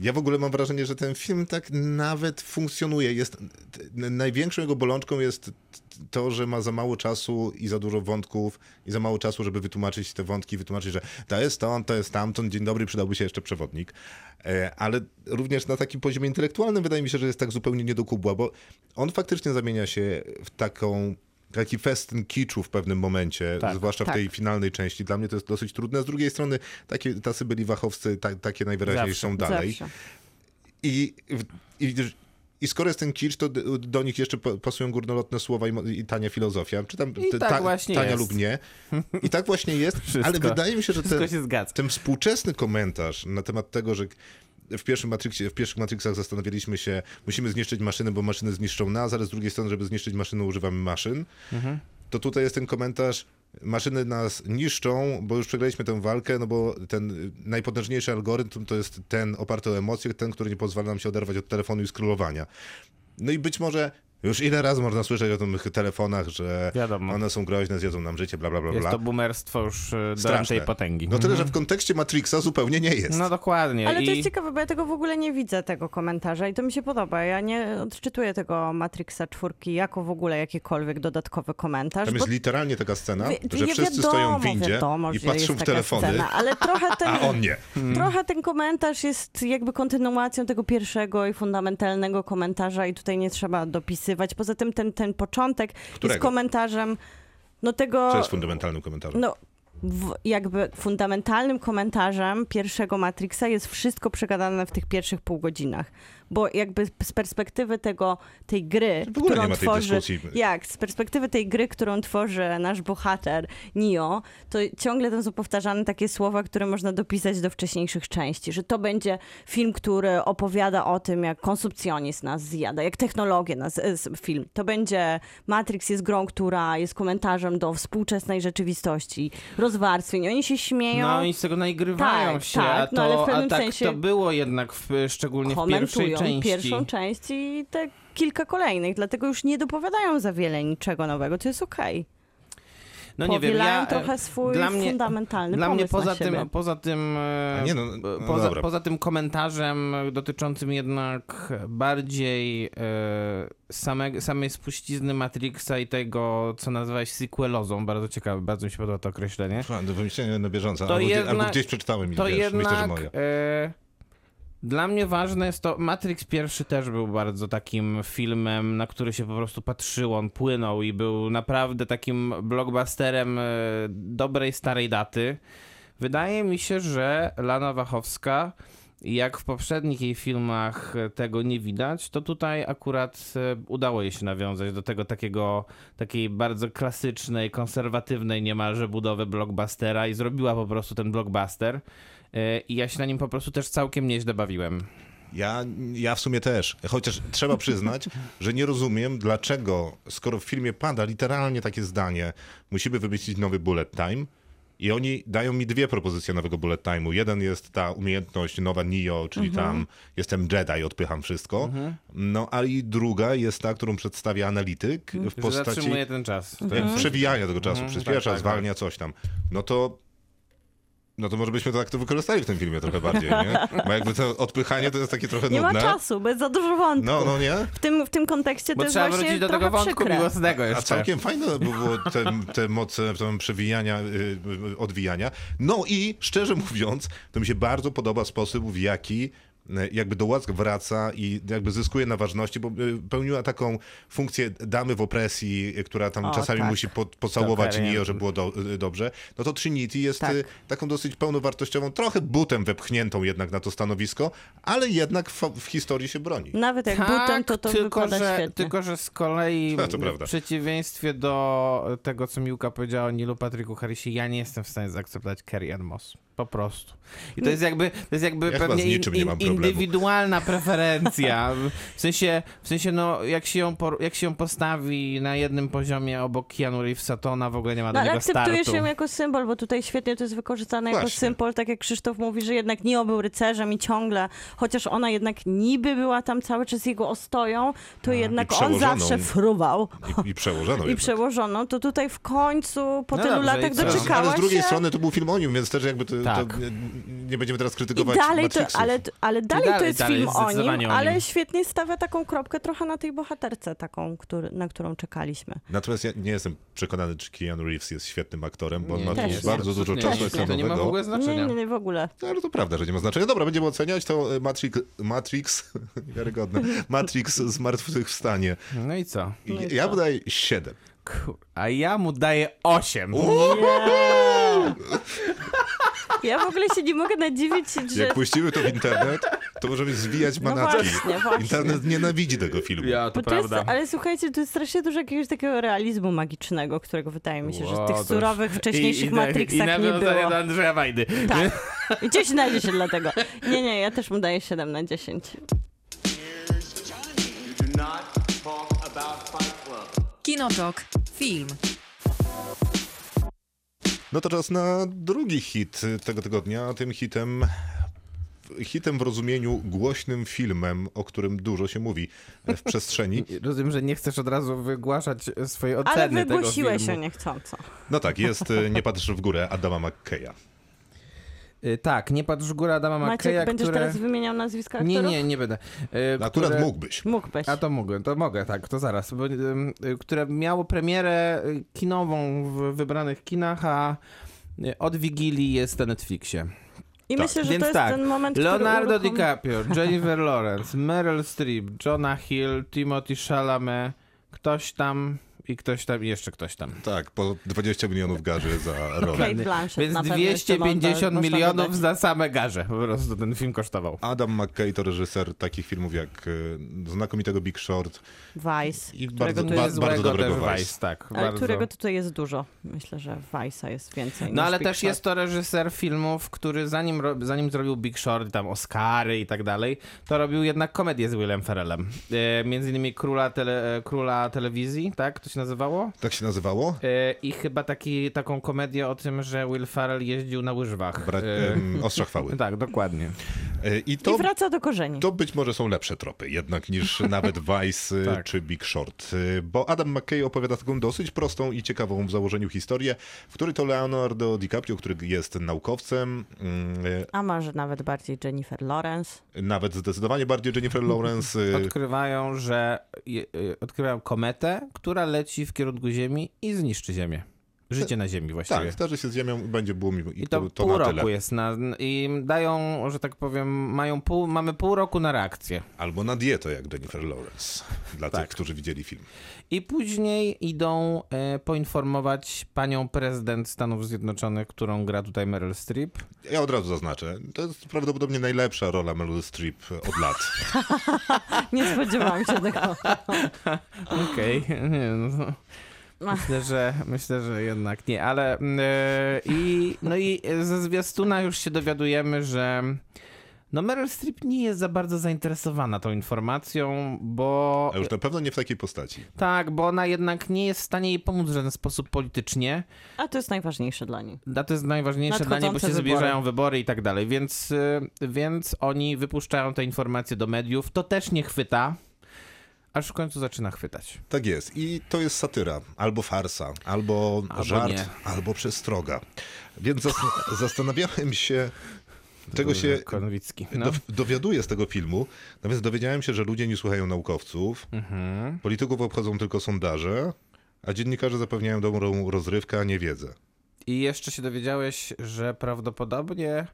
Ja w ogóle mam wrażenie, że ten film tak nawet funkcjonuje. Jest, t- największą jego bolączką jest t- to, że ma za mało czasu i za dużo wątków i za mało czasu, żeby wytłumaczyć te wątki, wytłumaczyć, że to jest to, to jest tamto, dzień dobry, przydałby się jeszcze przewodnik. E, Ale również na takim poziomie intelektualnym wydaje mi się, że jest tak zupełnie nie do kubła, bo on faktycznie zamienia się w taką taki festyn kiczu w pewnym momencie, Tak, zwłaszcza w tak. tej finalnej części. Dla mnie to jest dosyć trudne. Z drugiej strony takie tasy byli wachowcy, ta, takie najwyraźniej Zawsze. są dalej. Zawsze. I, i, I skoro jest ten kicz, to d- do nich jeszcze po- pasują górnolotne słowa i, mo- i tania filozofia. Czy tam I t- tak właśnie tania jest. lub nie. I tak właśnie jest, Wszystko. ale wydaje mi się, że Wszystko te, się zgadza. ten współczesny komentarz na temat tego, że w pierwszym Matrixie, w pierwszych Matrixach zastanawialiśmy się, musimy zniszczyć maszyny, bo maszyny zniszczą nas, ale z drugiej strony, żeby zniszczyć maszynę, używamy maszyn. Mhm. To tutaj jest ten komentarz, maszyny nas niszczą, bo już przegraliśmy tę walkę, no bo ten y, najpotężniejszy algorytm to jest ten oparty o emocje, ten, który nie pozwala nam się oderwać od telefonu i scrollowania. No i być może już ile razy można słyszeć o tych telefonach, że Wiadomo. one są groźne, zjedzą nam życie, bla, bla, bla, Jest bla. to boomerstwo już e, do Straszne. tej potęgi. Mhm. No tyle, że Mhm. w kontekście Matrixa zupełnie nie jest. No dokładnie. Ale I... to jest ciekawe, bo ja tego w ogóle nie widzę, tego komentarza i to mi się podoba. Ja nie odczytuję tego Matrixa czwórki jako w ogóle jakikolwiek dodatkowy komentarz. Tam bo jest literalnie taka scena, Wie- że nie wszyscy wiadomo, stoją w windzie wiadomo, i że patrzą jest w taka telefony, Scena, ale trochę ten, a on nie. trochę ten komentarz jest jakby kontynuacją tego pierwszego i fundamentalnego komentarza i tutaj nie trzeba dopisywać. Poza tym ten, ten początek Którego? jest komentarzem no tego... Co jest fundamentalnym komentarzem. No, w, jakby fundamentalnym komentarzem pierwszego Matrixa jest wszystko przegadane w tych pierwszych pół godzinach. bo jakby z perspektywy tego, tej gry, W ogóle którą nie ma tej tworzy... dyskusji. Jak? Z perspektywy tej gry, którą tworzy nasz bohater Nio, to ciągle tam są powtarzane takie słowa, które można dopisać do wcześniejszych części, że to będzie film, który opowiada o tym, jak konsumpcjonizm nas zjada, jak technologia nas e, s- film. To będzie Matrix jest grą, która jest komentarzem do współczesnej rzeczywistości, rozwarstwień. Oni się śmieją. No i z tego naigrywają Tak, się, tak, a, to, no ale w pewnym a tak sensie to było jednak w, szczególnie w pierwszej komentują części. pierwszą część i te kilka kolejnych, dlatego już nie dopowiadają za wiele niczego nowego, to jest okej. no Powielają e, trochę swój dla mnie- fundamentalny Dla mnie pomysł poza na siebie. tym, poza tym, e, A nie, no, no e, poza, dobra. poza tym komentarzem dotyczącym jednak bardziej e, same, samej spuścizny Matrixa i tego, co nazywałeś sequelozą, bardzo ciekawe, bardzo mi się podoba to określenie. Słuchaj, do wymyślenia na bieżąco. To albo, gdzie- jednak- albo gdzieś przeczytałem i To wiesz, jednak myślę, że moje. e, dla mnie ważne jest to, Matrix pierwszy też był bardzo takim filmem, na który się po prostu patrzyło, on płynął i był naprawdę takim blockbusterem e, dobrej, starej daty. Wydaje mi się, że Lana Wachowska, jak w poprzednich jej filmach e, tego nie widać, to tutaj akurat e, udało jej się nawiązać do tego takiego, takiej bardzo klasycznej, konserwatywnej niemalże budowy blockbustera i zrobiła po prostu ten blockbuster. E, I ja się na nim po prostu też całkiem nieźle bawiłem. Ja, ja w sumie też. Chociaż trzeba przyznać, że nie rozumiem, dlaczego, skoro w filmie pada literalnie takie zdanie, musimy wymyślić nowy bullet time. I oni dają mi dwie propozycje nowego bullet time'u. Jeden jest ta umiejętność nowa Nio, czyli tam jestem Jedi, odpycham wszystko. No, a i druga jest ta, którą przedstawia analityk w Że postaci Zatrzymuje ten czas. To mhm. przewijania tego czasu, Mhm, przyspiesza, tak, tak, zwalnia coś tam. No to. No to może byśmy tak to wykorzystali w tym filmie trochę bardziej, nie? Bo jakby to odpychanie to jest takie trochę Nie ma nudne. czasu, bo jest za dużo wątków. No, no nie? W, tym, w tym kontekście Bo to jest trzeba właśnie wrócić do trochę tego wątku przykre. miłosnego jeszcze. A całkiem fajne by było te, te moce tam przewijania, y, y, odwijania. No i szczerze mówiąc, to mi się bardzo podoba sposób, w jaki y, jakby do łask wraca i jakby zyskuje na ważności, bo y, pełniła taką funkcję damy w opresji, y, która tam O, czasami tak. musi po, pocałować Dokładnie. Nio, żeby było do, y, dobrze. No to Trinity jest Tak. y, taką dosyć pełnowartościową, trochę butem wepchniętą jednak na to stanowisko, ale jednak w, w historii się broni. Nawet jak butem, to to wypada że, świetnie. Tak, Tylko, że z kolei A, to w prawda. przeciwieństwie do tego, co Miłka powiedziała o Nilu Patryku Harrisie, ja nie jestem w stanie zaakceptować Carrie Ann Moss. Po prostu. I to jest jakby, to jest jakby Ja chyba pewnie z niczym nie mam problemu. indywidualna preferencja. W sensie, w sensie no, jak się, ją por, jak się ją postawi na jednym poziomie obok Keanu Reevesa, to ona w ogóle nie ma No, do ale niego akceptujesz startu. ją jako symbol, bo tutaj świetnie to jest wykorzystane jako Właśnie. symbol, tak jak Krzysztof mówi, że jednak Nio był rycerzem i ciągle, chociaż ona jednak niby była tam cały czas jego ostoją, to jednak on Tak, przełożoną. zawsze fruwał. I, i przełożono I jednak. Znaczy, przełożoną, to tutaj w końcu po No tylu dobrze, latach i co? doczekała Ale z drugiej się. strony to był film o nim, więc też jakby to, Tak. to nie, nie będziemy teraz I krytykować dalej to, Matrixów. ale, ale dalej to dalej, jest dalej film jest o nim, zdecydowanie o nim. ale świetnie stawia taką kropkę trochę na tej bohaterce, taką, który, na którą czekaliśmy. Natomiast ja nie jestem przekonany, czy Keanu Reeves jest świetnym aktorem, bo on ma nie, tu nie, bardzo dużo Nie, czasu To nie ma w ekranowego. ogóle Nie, znaczenia. nie, nie, w ogóle. No, Ale to prawda, że nie ma znaczenia. Dobra, będziemy oceniać to e, Matrix, Matrix wiarygodne, Matrix Zmartwychwstanie. No i co? I ja wydaję 7. Kur... A ja mu daję 8. Ja w ogóle się nie mogę nadziwić, że... Jak puścimy to w internet, to możemy zwijać No manatki. właśnie, właśnie. Internet nienawidzi tego filmu. Ja, to Bo to jest, prawda. ale słuchajcie, tu jest strasznie dużo jakiegoś takiego realizmu magicznego, którego wydaje mi się, że Wow, w to tych już- surowych, wcześniejszych I, i, Matrixach i nie nawiązanie było. do Andrzeja Wajdy. Tak. I gdzieś znajdzie się dlatego. Nie, nie, ja też mu daję 7 na 10. You do not talk about Fight Club. Kinotok. Film. No to czas na drugi hit tego tygodnia. a Tym hitem. Hitem w rozumieniu głośnym filmem, o którym dużo się mówi w przestrzeni. Rozumiem, że nie chcesz od razu wygłaszać swojej oceny Ale tego wygłosiłeś się filmu. niechcąco. No tak, jest e, Nie patrz w górę Adama McKeya. Y, Tak, nie patrz w górę Adama Maciek, McKeya, będziesz które... teraz wymieniał nazwiska Nie, aktorów? nie, nie będę. Y, No, Akurat które... mógłbyś. Mógłbyś. A to mogę, to mogę, tak, to zaraz. Bo, ym, y, które miało premierę y, kinową w wybranych kinach, a y, od Wigilii jest na Netflixie. I Tak. myślę, że Więc to jest tak, ten moment, Leonardo który uruchom- DiCaprio, Jennifer Lawrence, Meryl Streep, Jonah Hill, Timothy Chalamet, ktoś tam i ktoś tam, i jeszcze ktoś tam. Tak, po 20 milionów garzy za rolę. Kate Blanchett Więc na pewno jeszcze można- 250 można milionów dodać. za same garze po prostu ten film kosztował. Adam McKay to reżyser takich filmów jak e, znakomitego Big Short Vice. i bardzo, którego tu ba, jest- bardzo dobrego też Vice. tak. Ale bardzo. którego tutaj jest dużo. Myślę, że Vice'a jest więcej. No niż ale Big też Short. jest to reżyser filmów, który zanim, ro- zanim zrobił Big Short, tam Oscary i tak dalej, to robił jednak komedię z Willem Ferrellem. E, między innymi Króla, tele, e, Króla Telewizji, tak to się nazywało? Tak się nazywało? E, I chyba taki, taką komedię o tym, że Will Ferrell jeździł na łyżwach. Bra- E, em, Ostrza chwały. tak, dokładnie. E, I I to, wraca do korzeni. to być może są lepsze tropy jednak niż nawet Vice e, Tak. czy Big Short. E, Bo Adam McKay opowiada taką dosyć prostą i ciekawą w założeniu historię, w której to Leonardo DiCaprio, który jest naukowcem, mm, A może nawet bardziej Jennifer Lawrence. e, nawet zdecydowanie bardziej Jennifer Lawrence, e, Odkrywają, że je, e, odkrywają kometę, która leci w kierunku Ziemi i zniszczy Ziemię. Życie na Ziemi właściwie. Tak, zdarzy się z ziemią, będzie było miło. I, I to, to, to, pół na roku tyle. jest na, i dają, że tak powiem, mają pół, mamy pół roku na reakcję. Albo na dietę, jak Jennifer Lawrence. Dla Tak. tych, którzy widzieli film. I później idą e, poinformować panią prezydent Stanów Zjednoczonych, którą gra tutaj Meryl Streep. Ja od razu zaznaczę, to jest prawdopodobnie najlepsza rola Meryl Streep od lat. Nie spodziewałam się tego. Okej, nie, no, to- myślę, że, myślę, że jednak nie, ale mm, e, i, no i ze zwiastuna już się dowiadujemy, że no Meryl Streep nie jest za bardzo zainteresowana tą informacją, bo A już na pewno nie w takiej postaci. tak, bo ona jednak nie jest w stanie jej pomóc w żaden sposób politycznie. A to jest najważniejsze dla niej. A to jest najważniejsze dla niej, bo Nadchodzące się wybory. zbliżają wybory i tak dalej, więc, y, więc oni wypuszczają te informacje do mediów. To też nie chwyta, aż w końcu zaczyna chwytać. Tak jest. I to jest satyra. Albo farsa, albo, Albo żart, nie. albo przestroga. Więc zas zastanawiałem się, czego się Konwicki. No. E, do dowiaduję z tego filmu. Natomiast dowiedziałem się, że ludzie nie słuchają naukowców, Mhm. polityków obchodzą tylko sondaże, a dziennikarze zapewniają dobrą rozrywkę, a nie wiedzę. I jeszcze się dowiedziałeś, że prawdopodobnie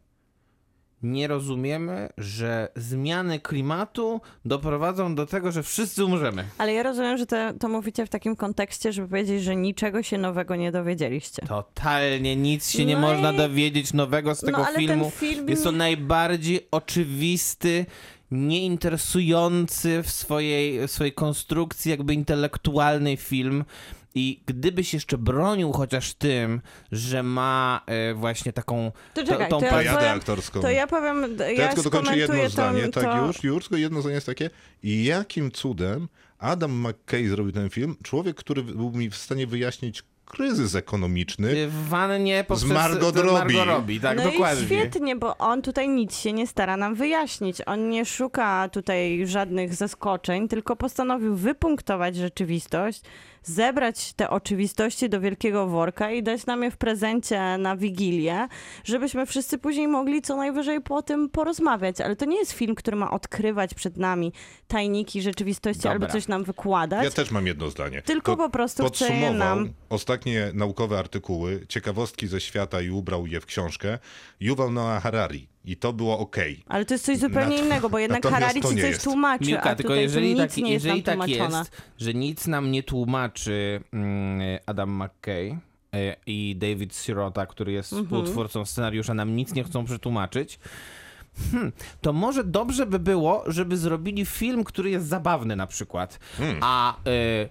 nie rozumiemy, że zmiany klimatu doprowadzą do tego, że wszyscy umrzemy. Ale ja rozumiem, że te, to mówicie w takim kontekście, żeby powiedzieć, że niczego się nowego nie dowiedzieliście. Totalnie nic się nie No można i- no, dowiedzieć nowego z tego ale ten filmu. film Jest on nie- najbardziej oczywisty, nieinteresujący w swojej, w swojej konstrukcji, jakby intelektualny film. I gdybyś jeszcze bronił chociaż tym, że ma e, właśnie taką. To to- czekaj, tą to ja- parę- Pojadę Jadę powiem- aktorską. To ja powiem, d- To ja ja tylko dokończę jedno skomentuję zdanie, tą, tak to... już, już tylko jedno zdanie jest takie. I jakim cudem Adam McKay zrobił ten film? Człowiek, który był mi w stanie wyjaśnić kryzys ekonomiczny. W wannie poprzez Margot Robbie. Robbie, tak, no dokładnie. i świetnie, bo on tutaj nic się nie stara nam wyjaśnić. On nie szuka tutaj żadnych zaskoczeń, tylko postanowił wypunktować rzeczywistość, zebrać te oczywistości do wielkiego worka i dać nam je w prezencie na Wigilię, żebyśmy wszyscy później mogli co najwyżej po tym porozmawiać. Ale to nie jest film, który ma odkrywać przed nami tajniki rzeczywistości Dobra. albo coś nam wykładać. Ja też mam jedno zdanie. Znaczy, Tylko po prostu chcę je podsumował nam- ostatnie naukowe artykuły, ciekawostki ze świata i ubrał je w książkę. Juval Noah Harari. I to było okej. Ale to jest coś zupełnie Nat- innego, bo jednak natomiast Harari to ci nie coś jest. tłumaczy, Miłka, a tylko tutaj tu jeżeli, nic tak, nie jest jeżeli nam tak tłumaczone. jest, że nic nam nie tłumaczy mm, Adam McKay e, i David Sirota, który jest Mhm. współtwórcą scenariusza, nam nic nie chcą przetłumaczyć, hmm, to może dobrze by było, żeby zrobili film, który jest zabawny na przykład, a... E,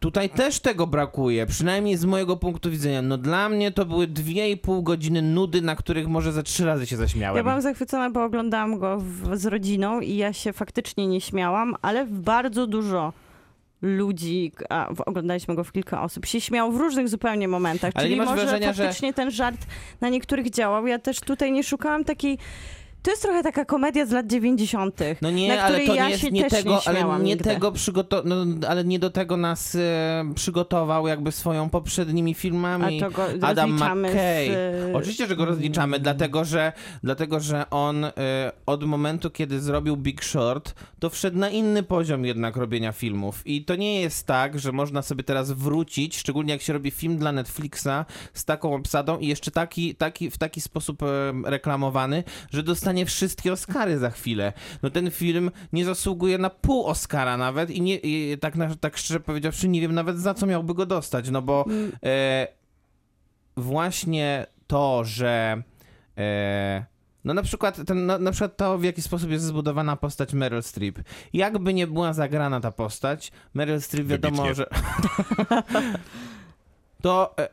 Tutaj też tego brakuje, przynajmniej z mojego punktu widzenia. No dla mnie to były dwie i pół godziny nudy, na których może ze trzy razy się zaśmiałem. Ja byłam zachwycona, bo oglądałam go w, z rodziną i ja się faktycznie nie śmiałam, ale bardzo dużo ludzi, a w- oglądaliśmy go w kilka osób, się śmiało w różnych zupełnie momentach. Ale nie Czyli masz może wrażenia, że- faktycznie ten żart na niektórych działał. Ja też tutaj nie szukałam takiej... To jest trochę taka komedia z lat 90. No nie, na ale której to ja nie jest się nie też tego, nie ale śmiałam nie nigdy. tego przygoto- no, ale nie do tego nas e, przygotował jakby swoją poprzednimi filmami A to go Adam rozliczamy z, mm. McKay. e, Oczywiście, że go rozliczamy, dlatego że dlatego że on e, od momentu kiedy zrobił Big Short, to wszedł na inny poziom jednak robienia filmów i to nie jest tak, że można sobie teraz wrócić, szczególnie jak się robi film dla Netflixa z taką obsadą i jeszcze taki taki w taki sposób e, y, reklamowany, że dostaniesz dostanie wszystkie Oscary za chwilę. No ten film nie zasługuje na pół Oscara nawet i, nie, i tak, na, tak szczerze powiedziawszy nie wiem nawet za co miałby go dostać, no bo Mm. e, właśnie to, że e, no na przykład, ten, na, na przykład to, w jaki sposób jest zbudowana postać Meryl Streep. Jakby nie była zagrana ta postać, Meryl Streep wiadomo, Wybitnie. że... to e,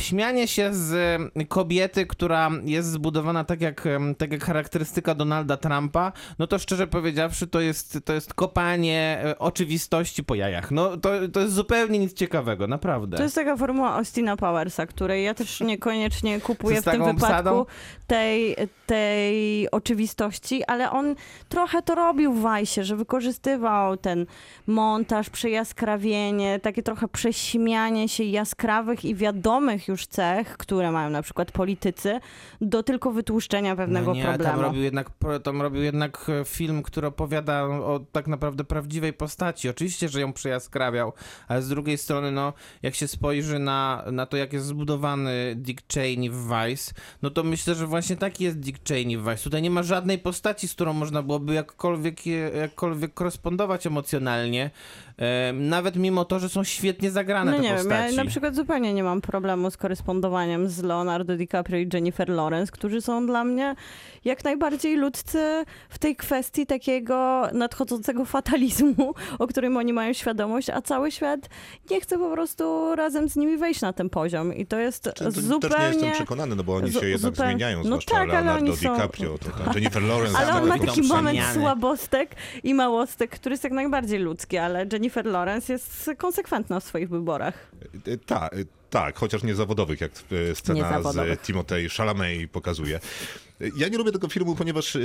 śmianie się z e, kobiety, która jest zbudowana tak jak, em, tak jak charakterystyka Donalda Trumpa, no to szczerze powiedziawszy, to jest, to jest kopanie e, oczywistości po jajach. No to, to jest zupełnie nic ciekawego, naprawdę. To jest taka formuła Austina Powersa, której ja też niekoniecznie kupuję Z w tym taką obsadą? wypadku tej, tej oczywistości, ale on trochę to robił w Wajsie, że wykorzystywał ten montaż, przejaskrawienie, takie trochę prześmianie się jaskrawych i wiadomych już cech, które mają na przykład politycy, do tylko wytłuszczenia pewnego no nie, problemu. Tam robił, jednak, pro- tam robił jednak e, film, który opowiada o tak naprawdę prawdziwej postaci. Oczywiście, że ją przejaskrawiał, ale z drugiej strony, no, jak się spojrzy na, na to, jak jest zbudowany Dick Cheney w Vice, no to myślę, że właśnie taki jest Dick Cheney w Vice. Tutaj nie ma żadnej postaci, z którą można byłoby jakkolwiek, je- jakkolwiek korespondować emocjonalnie, e, nawet mimo to, że są świetnie zagrane No te nie wiem, postaci. ja na przykład zupełnie nie mam problemu z korespondowaniem z Leonardo DiCaprio i Jennifer Lawrence, którzy są dla mnie jak najbardziej ludcy w tej kwestii takiego nadchodzącego fatalizmu, o którym oni mają świadomość, a cały świat nie chce po prostu razem z nimi wejść na ten poziom. I to jest Czy- to Też nie jestem zupełnie... przekonany, no bo oni zu- się jednak zupełnie- zmieniają, no zwłaszcza tak, ale Leonardo oni są- DiCaprio, to tam Jennifer Lawrence. Ale nawet on ma Zamek taki Dąb moment Przemiany. słabostek i małostek, który jest jak najbardziej ludzki, ale Jennifer Lawrence jest konsekwentna w swoich wyborach. Tak, tak, chociaż nie zawodowych, jak e, Nie scena zawodowych. z Timotej Chalamet pokazuje. E, Ja nie lubię tego filmu, ponieważ e, e,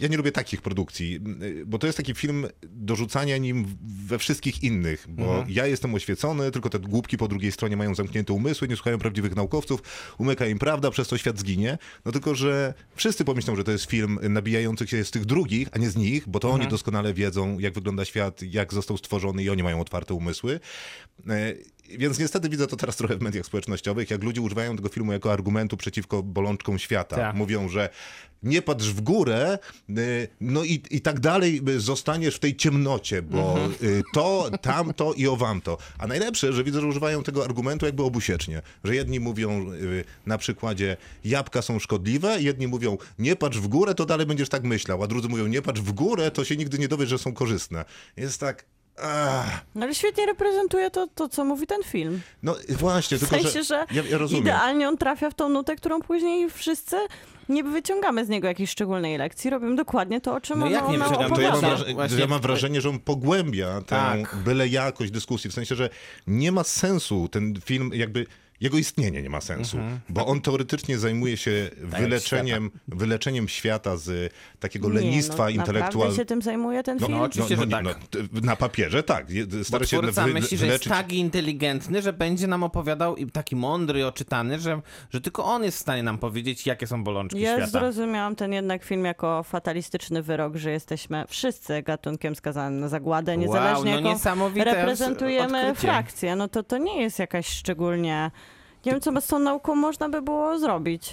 ja nie lubię takich produkcji, m, e, bo to jest taki film dorzucania nim we wszystkich innych, bo ja jestem oświecony, tylko te głupki po drugiej stronie mają zamknięte umysły, nie słuchają prawdziwych naukowców, umyka im prawda, przez to świat zginie. No tylko, że wszyscy pomyślą, że to jest film nabijających się z tych drugich, a nie z nich, bo to oni doskonale wiedzą, jak wygląda świat, jak został stworzony i oni mają otwarte umysły. E, Więc niestety widzę to teraz trochę w mediach społecznościowych, jak ludzie używają tego filmu jako argumentu przeciwko bolączkom świata. Tak. Mówią, że nie patrz w górę, y, no i, i tak dalej y, zostaniesz w tej ciemnocie, bo y, to, tamto i owamto. A najlepsze, że widzę, że używają tego argumentu jakby obusiecznie. Że jedni mówią y, na przykładzie jabłka są szkodliwe, jedni mówią nie patrz w górę, to dalej będziesz tak myślał, a drudzy mówią nie patrz w górę, to się nigdy nie dowiesz, że są korzystne. Jest tak... Ach. No ale świetnie reprezentuje to, to co mówi ten film. No właśnie, W tylko sensie, że ja, ja rozumiem. idealnie on trafia w tą nutę, którą później wszyscy nie wyciągamy z niego jakiejś szczególnej lekcji. Robimy dokładnie to, o czym No on, jak nie on nam wyciągamy? To ja, mam opowiada. Właśnie- wrażenie, to ja mam wrażenie, że on pogłębia tę Tak. byle jakość dyskusji, w sensie, że nie ma sensu ten film, jakby jego istnienie nie ma sensu, Mhm. bo on teoretycznie zajmuje się wyleczeniem, wyleczeniem świata z takiego Nie, lenistwa no, Naprawdę intelektualnego. się tym zajmuje ten film? no, Oczywiście, że tak. t- na papierze tak. Je- Stara Bo się twórca wy, myśli, że jest wyleczyć. tak inteligentny, że będzie nam opowiadał i taki mądry i oczytany, że, że tylko on jest w stanie nam powiedzieć, jakie są bolączki ja świata. zrozumiałam ten jednak film jako fatalistyczny wyrok, że jesteśmy wszyscy gatunkiem skazanym na zagładę, niezależnie no jaką niesamowite reprezentujemy odkrycie. frakcję. No to, to nie jest jakaś szczególnie... Nie wiem, co z tą nauką można by było zrobić.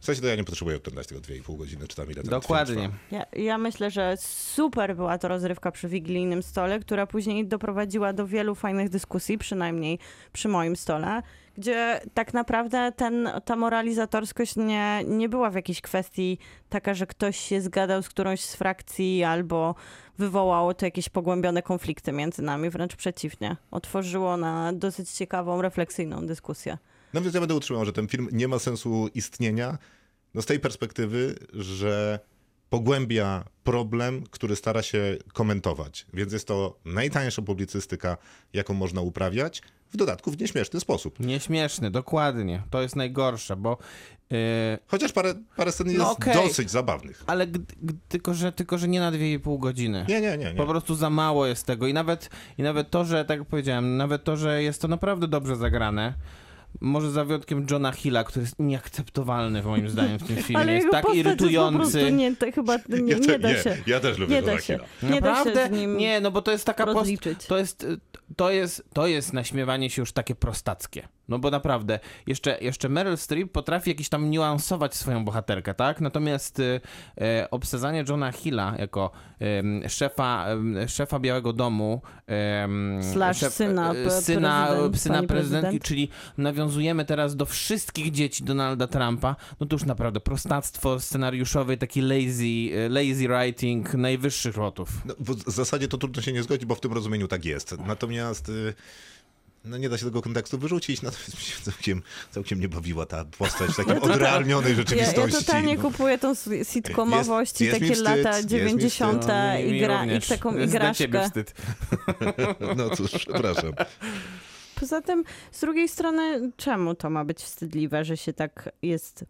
W sensie to ja nie potrzebuję oglądać tego 2,5 godziny, czy tam ile ten film Dokładnie. trwa. Ja, ja myślę, że super była to rozrywka przy wigilijnym stole, która później doprowadziła do wielu fajnych dyskusji, przynajmniej przy moim stole, gdzie tak naprawdę ten, ta moralizatorskość nie, nie była w jakiejś kwestii taka, że ktoś się zgadał z którąś z frakcji albo wywołało to jakieś pogłębione konflikty między nami, wręcz przeciwnie. Otworzyło na dosyć ciekawą, refleksyjną dyskusję. No więc ja będę utrzymał, że ten film nie ma sensu istnienia no z tej perspektywy, że pogłębia problem, który stara się komentować. Więc jest to najtańsza publicystyka, jaką można uprawiać, w dodatku w nieśmieszny sposób. Nieśmieszny, dokładnie. To jest najgorsze, bo. Yy, Chociaż parę, parę No scen jest okej. dosyć zabawnych. ale gdy, gdy, tylko, że, tylko, że nie na 2,5 godziny. Nie, nie, nie. nie. Po prostu za mało jest tego. I nawet, I nawet to, że, tak jak powiedziałem, nawet to, że jest to naprawdę dobrze zagrane. Może za wyjątkiem Johna Hilla, który jest nieakceptowalny moim zdaniem w tym filmie. Ale jest jego tak postać jest po irytujący. prostu nie, to chyba nie, ja, te, nie da się. ja też lubię Nie Johna da się. Hilla. Nie da Naprawdę? się z nim Nie, no bo to jest taka post... rozliczyć. To jest, to jest, to jest naśmiewanie się już takie prostackie. No bo naprawdę, jeszcze, jeszcze Meryl Streep potrafi jakiś tam niuansować swoją bohaterkę, tak? Natomiast y, e, obsadzanie Johna Hilla jako em, szefa, em, szefa Białego Domu, em, Slash syna e, pe- syna, prezydent- syna pani prezydentki, prezydent. czyli nawiązujemy teraz do wszystkich dzieci Donalda Trumpa, no to już naprawdę prostactwo scenariuszowe, i taki lazy, e, lazy writing najwyższych lotów. No, w w zasadzie to trudno się nie zgodzić, bo w tym rozumieniu tak jest. Natomiast y, no nie da się tego kontekstu wyrzucić, natomiast mi się całkiem, całkiem nie bawiła ta postać w takiej odrealnionej Ja, ja rzeczywistości. totalnie kupuję tą s- sitcomowość No. Jest- i jest takie mi wstyd, lata jest mi 90. No, mi- i, mi gra, i również. taką Jest Dla ciebie igraszkę. wstyd. No cóż, przepraszam. Poza tym, z drugiej strony, czemu to ma być wstydliwe, że się tak jest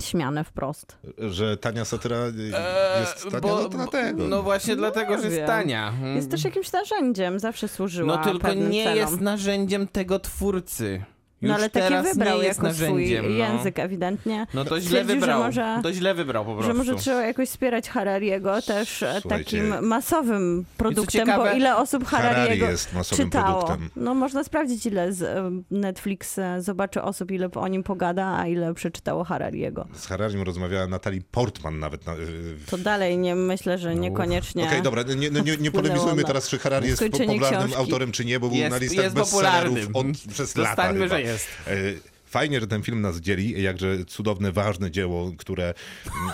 śmiane wprost? Że tania satyra y, E, jest tania, E, bo- no to dlatego. No właśnie dlatego, że wiem. jest tania. Mm. Jest też jakimś narzędziem, zawsze służyła No tylko pewnym nie celom. jest narzędziem tego twórcy. Już no ale takie teraz wybrał nie jest jako swój narzędziem. no. język ewidentnie. No to źle Stwierdził, że wybrał. może- To źle wybrał po prostu. Że może trzeba jakoś wspierać Harariego też e, Słuchajcie. takim masowym produktem, ciekawe, bo ile osób Harari Harariego jest masowym czytało. produktem. No można sprawdzić, ile z e, Netflix e, zobaczy osób, ile o nim pogada, a ile przeczytało Harariego. Z Hararim rozmawiała Natalie Portman nawet. Na, y, w- To dalej nie myślę, że niekoniecznie. No, Okej, dobra, nie, no, nie, nie Wpłynęło polemizujmy na teraz, czy Harari jest po- skończenie popularnym książki. autorem, czy nie, bo był Jest- na listach jest bestsellerów popularnym. od, przez lata Zostańmy, chyba. że jest. Y, Fajnie, że ten film nas dzieli, jakże cudowne, ważne dzieło, które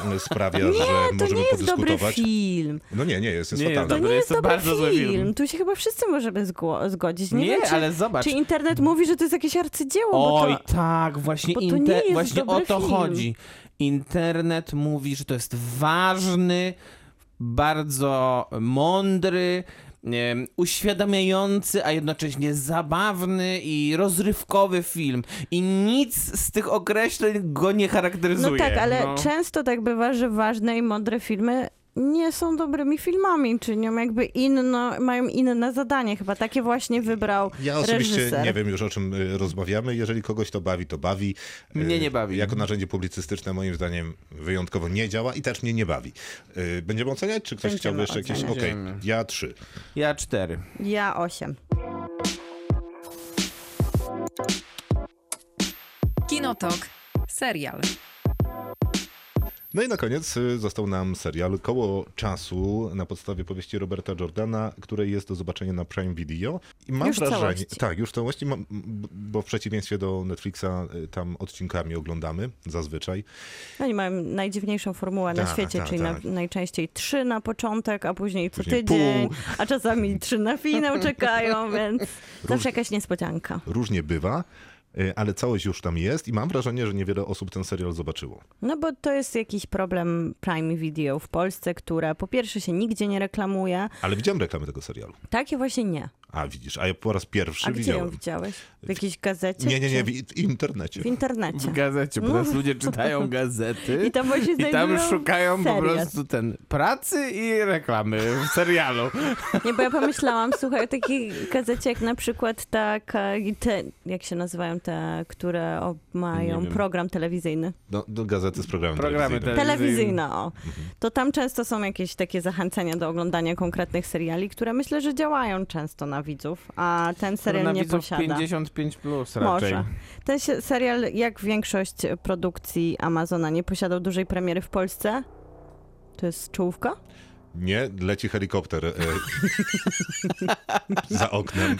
mm, sprawia, że Nie, to możemy nie jest dobry podyskutować. film. No nie, nie jest, jest Nie jest fatalny. dobry. To nie jest jest to dobry bardzo zły film. Tu się chyba wszyscy możemy zgo- zgodzić. Nie, Nie, wiem, czy, ale zobacz. czy internet mówi, że to jest jakieś arcydzieło, No, bo Oj, to... tak, właśnie, bo to inte- nie jest właśnie o dobry to film. chodzi. Internet mówi, że to jest ważny, bardzo mądry, nie wiem, uświadamiający, a jednocześnie zabawny i rozrywkowy film. I nic z tych określeń go nie charakteryzuje. No tak, ale no. często tak bywa, że ważne i mądre filmy nie są dobrymi filmami, czynią jakby inno, mają inne zadanie, chyba takie właśnie wybrał Ja osobiście reżyser. nie wiem już o czym y, rozmawiamy. Jeżeli kogoś to bawi, to bawi. Y, Mnie nie bawi. Jako narzędzie publicystyczne moim zdaniem wyjątkowo nie działa i też mnie nie bawi. Y, Będziemy oceniać, czy ktoś Będziemy chciałby jeszcze jakieś... Okej, oceniać. ja trzy. Ja cztery. Ja osiem. Kinotok. Serial. No i na koniec y, został nam serial Koło Czasu na podstawie powieści Roberta Jordana, której jest do zobaczenia na Prime Video. I mam Już w wrażenie, całości. tak, już w całości, mam, b- bo w przeciwieństwie do Netflixa y, tam odcinkami oglądamy zazwyczaj. No, Oni mają najdziwniejszą formułę na Tak, świecie, tak, czyli tak. Na, najczęściej trzy na początek, a później co Później tydzień, pół. a czasami trzy na finał czekają, więc zawsze jakaś niespodzianka. Różnie bywa, y, ale całość już tam jest i mam wrażenie, że niewiele osób ten serial zobaczyło. No bo to jest jakiś problem Prime Video w Polsce, które po pierwsze się nigdzie nie reklamuje, Ale widziałem reklamy tego serialu. takie właśnie nie. A widzisz, a ja po raz pierwszy A gdzie ją widziałem. widziałeś? W jakiejś gazecie? Nie, nie, nie, czy- w w internecie. W internecie. W gazecie, bo teraz ludzie czytają gazety No. I tam właśnie i tam znajdują szukają po serial. prostu ten pracy i reklamy w serialu. Nie, bo ja pomyślałam, słuchaj, o takich gazecie jak na przykład taka, te, jak się nazywają te, które o, mają wiem. program telewizyjny. No, no, gazety z programem Programy telewizyjnym. Telewizyjna, o. Mhm. To tam często są jakieś takie zachęcenia do oglądania konkretnych seriali, które myślę, że działają często na widzów, a ten serial No, na nie widzów posiada. 55 plus raczej. Może. Ten się, serial, jak większość produkcji Amazona, nie posiadał dużej premiery w Polsce. To jest czołówka? Nie, leci helikopter e, za oknem.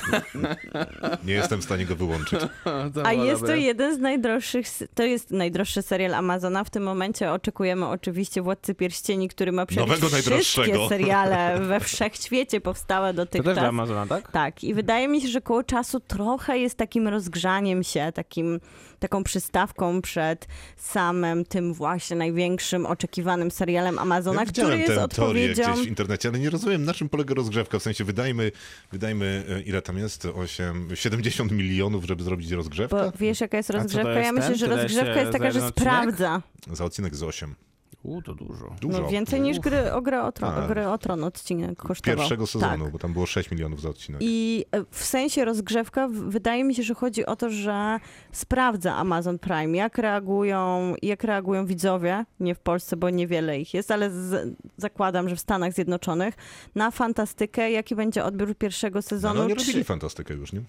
Nie jestem w stanie go wyłączyć. No, to A było jest to dobre. jeden z najdroższych, s- to jest najdroższy serial Amazona. W tym momencie oczekujemy oczywiście Władcy Pierścieni, który ma przebić Nowego najdroższego. wszystkie seriale we wszechświecie powstałe To też dotychczas. dla Amazona, tak? Tak, i wydaje mi się, że koło czasu trochę jest takim rozgrzaniem się, takim, taką przystawką przed samym tym właśnie największym oczekiwanym serialem Amazona, Ja który widziałem jest tę teorię odpowiedzią. gdzieś w internecie, ale nie rozumiem, na czym polega rozgrzewka. W sensie wydajmy, wydajmy e, ile tam jest? 8, 70 milionów, żeby zrobić rozgrzewkę? Bo wiesz, jaka jest to rozgrzewka? jest ja myślę, ten? że Tyle rozgrzewka się jest taka, za że jeden odcinek? sprawdza. Za odcinek z 8. U, to dużo. Dużo. No, więcej niż gry o, grę o, tron, Tak. o gry o Tron odcinek kosztował. Pierwszego sezonu, Tak. bo tam było 6 milionów za odcinek. I e, w sensie rozgrzewka w- wydaje mi się, że chodzi o to, że sprawdza Amazon Prime, jak reagują, jak reagują widzowie, nie w Polsce, bo niewiele ich jest, ale z, zakładam, że w Stanach Zjednoczonych, na fantastykę, jaki będzie odbiór pierwszego No, sezonu. ale oni czy- robili fantastykę już, nie?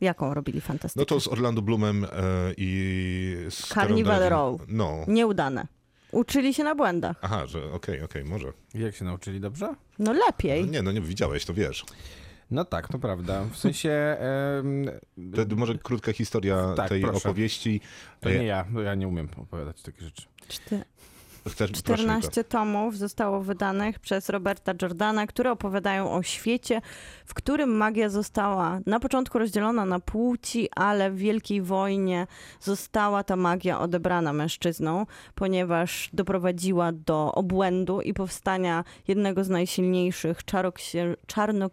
Jaką robili No fantastykę? to z Orlando Bloomem e, i z Karą Carnival Delevingne. Row. No. Nieudane. Uczyli się na błędach. Aha, że okej, okej, może. Jak się nauczyli dobrze? No No lepiej. nie, no nie widziałeś, to wiesz. No tak, to prawda. W sensie em, To może krótka historia Tak, tej proszę. opowieści. to nie ja, bo ja nie umiem opowiadać takich rzeczy. Czty- Chcesz, proszę, Juta. 14 tomów zostało wydanych przez Roberta Jordana, które opowiadają o świecie, w którym magia została na początku rozdzielona na płci, ale w Wielkiej Wojnie została ta magia odebrana mężczyznom, ponieważ doprowadziła do obłędu i powstania jednego z najsilniejszych czaroksię-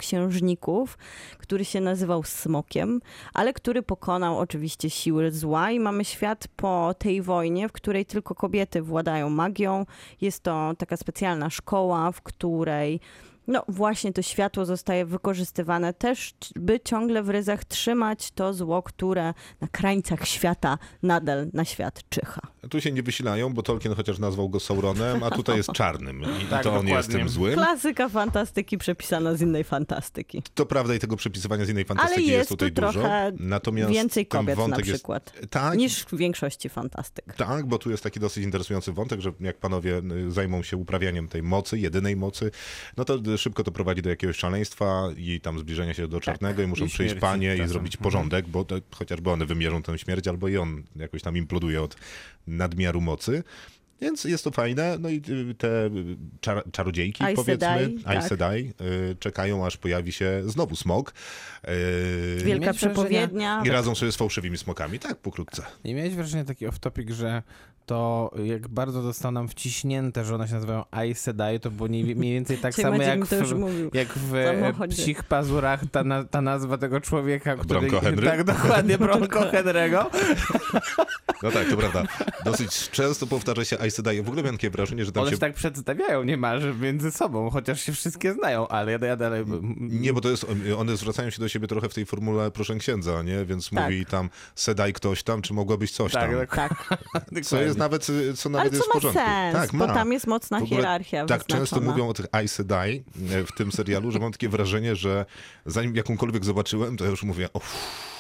czarnoksiężników, który się nazywał Smokiem, ale który pokonał oczywiście siły zła i mamy świat po tej wojnie, w której tylko kobiety władają magią. Jest to taka specjalna szkoła, w której no właśnie to światło zostaje wykorzystywane też, c- by ciągle w ryzach trzymać to zło, które na krańcach świata nadal na świat czyha. Tu się nie wysilają, bo Tolkien chociaż nazwał go Sauronem, a tutaj jest czarnym. I Tak, to on jest dokładnie. tym złym. Klasyka fantastyki przepisana z innej fantastyki. To prawda i tego przepisywania z innej fantastyki Ale jest, jest tutaj tu trochę dużo. Natomiast Więcej ten kobiet na wątek przykład Jest, tak, niż w większości fantastyk. Tak, bo tu jest taki dosyć interesujący wątek, że jak panowie y, zajmą się uprawianiem tej mocy, jedynej mocy, no to y, szybko to prowadzi do jakiegoś szaleństwa i tam zbliżenia się Tak. do czarnego i muszą I przyjść śmierci panie i czasem. Mhm. zrobić porządek, bo to, chociażby one wymierzą tę śmierć, albo i on jakoś tam imploduje od nadmiaru mocy. Więc jest to fajne, no i y, te y, czar czarodziejki, Aes powiedzmy, Sedai, Aes tak. Sedai, y, czekają, aż pojawi się znowu smok y, Wielka mieć wrażenia- przepowiednia. i radzą sobie z fałszywymi smokami, tak, pokrótce. Nie miałeś wrażenia taki off-topic, że to jak bardzo zostało nam wciśnięte, że one się nazywają Aes Sedai, to było nie- mniej więcej tak Czyli samo Maciek jak mi to już w, mówił. jak w e, samochodzie. psich pazurach ta, na, ta nazwa tego człowieka, który... Bronco Henry? Tak, dokładnie, Bronco Henry'ego. No tak, to prawda. Dosyć często powtarza się Aes Sedai. W ogóle miałem takie wrażenie, że tam One się się... tak przedstawiają niemalże między sobą, chociaż się wszystkie znają, ale ja, ja dalej... Nie, bo to jest, one zwracają się do siebie trochę w tej formule proszę księdza, nie? Więc Tak. mówi tam Sedaj ktoś tam, czy mogłabyś coś tak, tam. tak. Tak. Co jest dokładnie. nawet, co nawet Ale co jest w ma porządku. sens, tak, bo ma. tam jest mocna W ogóle hierarchia Tak często wyznaczona. mówią o tych Aes Sedai e, w tym serialu, że mam takie wrażenie, że zanim jakąkolwiek zobaczyłem, to ja już mówię, uff,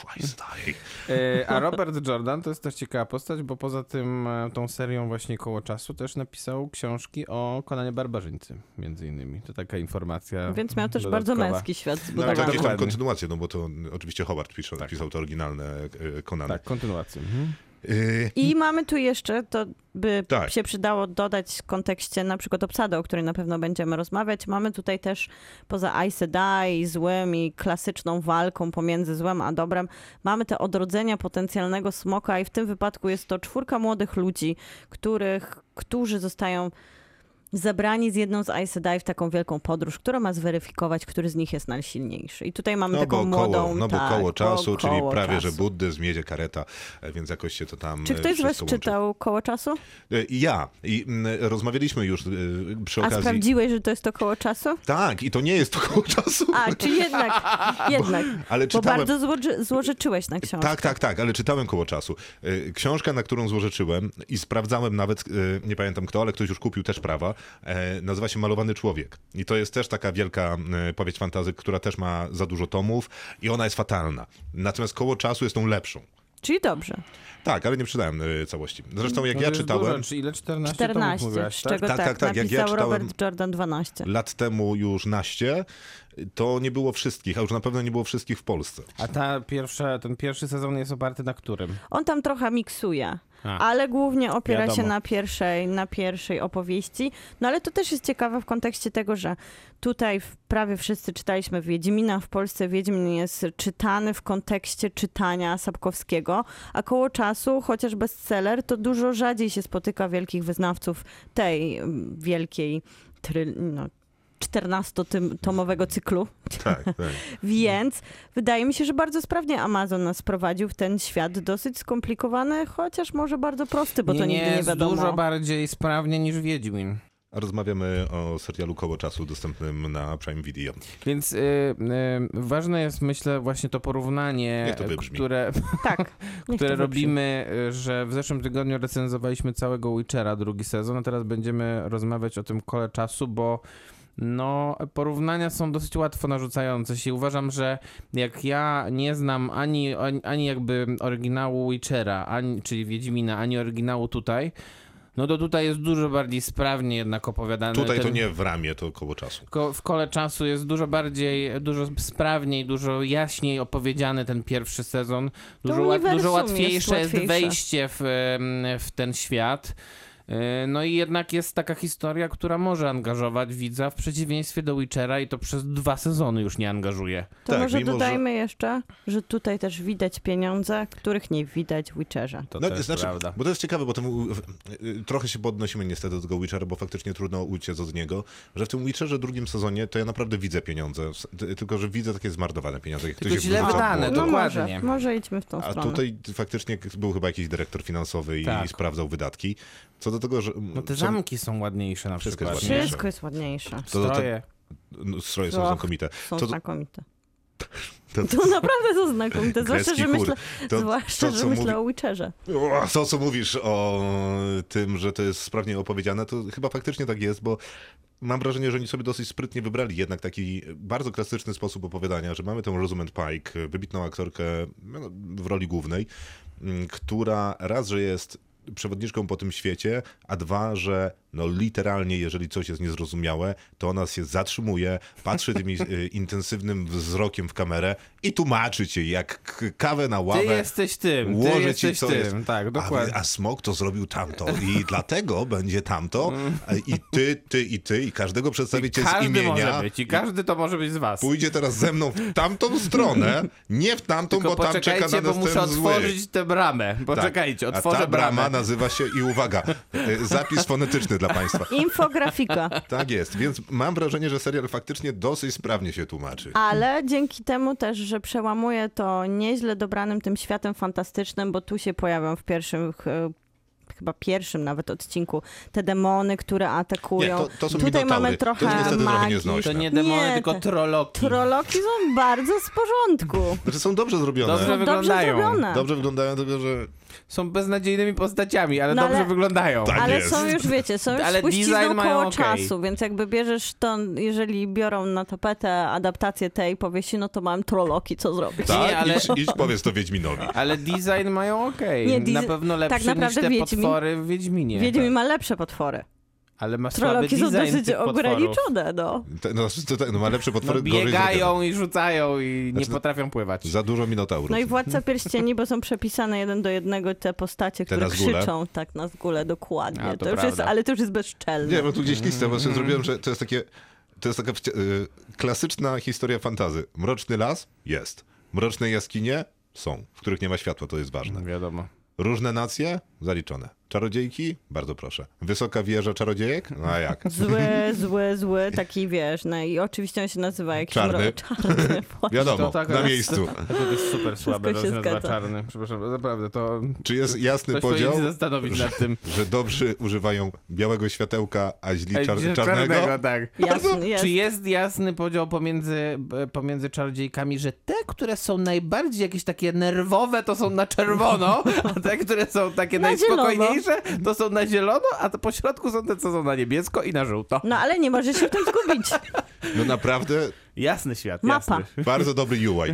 Aes Sedai. No E, A Robert Jordan to jest też ciekawa postać, bo poza tym e, tą serią właśnie koło czasu też napisał książki o Konanie Barbarzyńcy, między innymi. To taka informacja Więc miał też dodatkowa. bardzo męski świat No ale to zbudowany. jakieś tam Dokładnie. kontynuacje, no bo to mm, oczywiście Howard pisał, Tak. pisał te oryginalne e, Konany. Tak, kontynuację. Mhm. Y, I mamy tu jeszcze, to by Tak. się przydało dodać w kontekście na przykład obsady, o której na pewno będziemy rozmawiać, mamy tutaj też poza Aes Sedai, złym i klasyczną walką pomiędzy złem a dobrem, mamy te odrodzenia potencjalnego smoka i w tym wypadku jest to czwórka młodych ludzi, których, którzy zostają zabrani z jedną z Aes Sedai w taką wielką podróż, która ma zweryfikować, który z nich jest najsilniejszy. I tutaj mamy No taką bo, młodą... koło, no bo tak, koło czasu, bo czyli koło prawie, że czasu. buddyzm jedzie kareta, e, więc jakoś się to tam Czy e, ktoś z was wszystko łączy. czytał koło czasu? E, I ja. I mm, rozmawialiśmy już e, przy A okazji. sprawdziłeś, że to jest to koło czasu? Tak, i to nie jest to koło czasu. A, czy jednak, jednak. Ale Bo czytałem. bardzo złoży, złożyczyłeś na książkę. Tak, tak, tak, ale czytałem koło czasu. E, Książka, na którą złożyczyłem i sprawdzałem nawet, e, nie pamiętam kto, ale ktoś już kupił też prawa, e, nazywa się Malowany Człowiek. I to jest też taka wielka e, powieść fantazy, która też ma za dużo tomów i ona jest fatalna. Natomiast koło czasu jest tą lepszą. Czyli dobrze. Tak, ale nie przeczytałem e, całości. Zresztą jak To ja jest czytałem, dużo, czy ile? 14, 14 14, mówiłaś, z tak? czego tak, Tak, tak, tak, jak ja napisał czytałem- Robert Jordan 12. lat temu już naście, to nie było wszystkich, a już na pewno nie było wszystkich w Polsce. A ta pierwsza, ten pierwszy sezon jest oparty na którym? On tam trochę miksuje, A. ale głównie opiera Wiadomo. się na pierwszej, na pierwszej opowieści. No ale to też jest ciekawe w kontekście tego, że tutaj w, prawie wszyscy czytaliśmy Wiedźmina. W Polsce Wiedźmin jest czytany w kontekście czytania Sapkowskiego, a koło czasu, chociaż bestseller, to dużo rzadziej się spotyka wielkich wyznawców tej mm, wielkiej tryl... No, 14-tomowego cyklu, Tak, tak. więc wydaje mi się, że bardzo sprawnie Amazon nas prowadził w ten świat dosyć skomplikowany, chociaż może bardzo prosty, bo to nigdy nie jest wiadomo. dużo bardziej sprawnie niż Wiedźmin. Rozmawiamy o serialu Koło Czasu dostępnym na Prime Video. Więc y, y, ważne jest, myślę, właśnie to porównanie, Niech to wybrzmi. które, tak, niech które to wybrzmi. robimy, y, że w zeszłym tygodniu recenzowaliśmy całego Witchera drugi sezon, a teraz będziemy rozmawiać o tym kole czasu, bo No, porównania są dosyć łatwo narzucające się. Uważam, że jak ja nie znam ani, ani, ani jakby oryginału Witchera, ani, czyli Wiedźmina, ani oryginału tutaj, no to tutaj jest dużo bardziej sprawnie jednak opowiadane. Tutaj to ten- nie w ramie, to koło czasu. ko- w kole czasu jest dużo bardziej, dużo sprawniej, dużo jaśniej opowiedziany ten pierwszy sezon. Dużo, łat, uniwersum dużo jest łatwiejsze jest, łatwiejsze. wejście w, em, w ten świat. Y, No i jednak jest taka historia, która może angażować widza w przeciwieństwie do Witchera i to przez dwa sezony już nie angażuje. To Tak, może mimo, że- dodajmy jeszcze, że tutaj też widać pieniądze, których nie widać w Witcherze. To No, też znaczy, prawda. Bo to jest ciekawe, bo tym, u- w- y, trochę się podnosimy niestety do tego Witchera, bo faktycznie trudno uciec od niego, że w tym Witcherze drugim sezonie to ja naprawdę widzę pieniądze, s- ty- tylko że widzę takie zmarnowane pieniądze. jak Tylko to się źle wrzuca w wydane, błoto. No dokładnie. może, może idźmy w tą A stronę. tutaj faktycznie był chyba jakiś dyrektor finansowy i Tak. sprawdzał wydatki. Co do tego, że... No te co- zamki są ładniejsze na Wszystko przykład. jest ładniejsze. Wszystko jest ładniejsze. co do te, Stroje. no, stroje są Och, znakomite. Są Co do- znakomite. To, To naprawdę są znakomite, zwłaszcza, Kreski że chór. myślę, to- zwłaszcza, to, że co mówi- myślę o Witcherze. O, To, co mówisz o tym, że to jest sprawnie opowiedziane, to chyba faktycznie tak jest, bo mam wrażenie, że oni sobie dosyć sprytnie wybrali jednak taki bardzo klasyczny sposób opowiadania, że mamy tę Rosamund Pike, wybitną aktorkę no, w roli głównej, m, która raz, że jest przewodniczką po tym świecie, a dwa, że no literalnie, jeżeli coś jest niezrozumiałe, to ona się zatrzymuje, patrzy tym intensywnym wzrokiem w kamerę i tłumaczy cię jak k- kawę na ławę Ty jesteś tym, ty ułożę ci jesteś co tym. jest. Tak, dokładnie. A, a smok to zrobił tamto i dlatego będzie tamto i ty, ty i ty i każdego przedstawicie z Każdy może imienia. być i każdy to może być z was. Pójdzie teraz ze mną w tamtą stronę, nie w tamtą, Tylko bo tam czeka poczekajcie, na bo nas muszę ten zły. otworzyć tę bramę. Tak. Poczekajcie, A otworzę ta brama bramę. nazywa się i uwaga, y, zapis fonetyczny dla państwa. Infografika. Tak jest, więc mam wrażenie, że serial faktycznie dosyć sprawnie się tłumaczy. Ale dzięki temu też, że przełamuje to nieźle dobranym tym światem fantastycznym, bo tu się pojawią w pierwszym. ch- Chyba pierwszym nawet odcinku te demony, które Nie, atakują. to, to są Tutaj minotaury. mamy trochę to jest niestety trochę magii. nieznośne. To nie demony, Nie, tylko te- trolloki. Trolloki są bardzo z porządku. Znaczy są dobrze zrobione. Dobrze Są dobrze wyglądają. zrobione. Dobrze wyglądają, tylko że Są beznadziejnymi postaciami, ale No dobrze ale- wyglądają. Tak. Ale jest. są już, wiecie, są już Ale Ale design spuścizną mają koło okej. czasu, więc jakby bierzesz to, jeżeli biorą na tapetę adaptację tej powieści, no to mam trolloki, co zrobić. tak, ale- idź, idź powiedz to Wiedźminowi. Ale design mają okej. Nie, diz- Na pewno lepszy tak naprawdę niż te Wiedźmin- potwory w Wiedźminie. Tak. Wiedźmin ma lepsze potwory. Ale ma słaby Trolloki są design dosyć tych potworów. ograniczone, no. Te, no, to, te, no ma lepsze potwory, No, gorzej zrobione. biegają i rzucają i nie Znaczy, potrafią pływać. Za dużo minotaurów. No i Władca Pierścieni, bo są przepisane jeden do jednego te postacie, Te które na zgóle. krzyczą tak na zgóle, dokładnie. A, to to już jest, prawda. ale to już jest bezczelne. Nie, bo tu gdzieś listę, Mm. bo sobie zrobiłem, że to jest takie, to jest taka wci- y, klasyczna historia fantazy. Mroczny las? Jest. Mroczne jaskinie? Są. W których nie ma światła, to jest ważne. No Wiadomo. Różne nacje? Zaliczone. Czarodziejki? Bardzo proszę. Wysoka wieża czarodziejek? No a jak? Zły, zły, zły, taki wiesz, no i oczywiście on się nazywa jakiś Czarny. mro- Czarny. właśnie. Wiadomo, tak na jest. miejscu. To jest super słabe, Wszystko się to jest zgadza. czarny. Przepraszam, naprawdę, to Czy jest jasny ktoś powinien podział, się zastanowić nad tym. że dobrzy używają białego światełka, a źli Ej, czar- czarnego, czarnego? tak. Jasny, jest. Czy jest jasny podział pomiędzy, b- pomiędzy czarodziejkami, że te, które są najbardziej jakieś takie nerwowe, to są na czerwono, a te, które są takie Na zielono. najspokojniejsze, to są na zielono, a to po środku są te, co są na niebiesko i na żółto. No ale nie może się w tym zgubić. No naprawdę, Jasny świat, Mapa. jasny. bardzo dobry UI.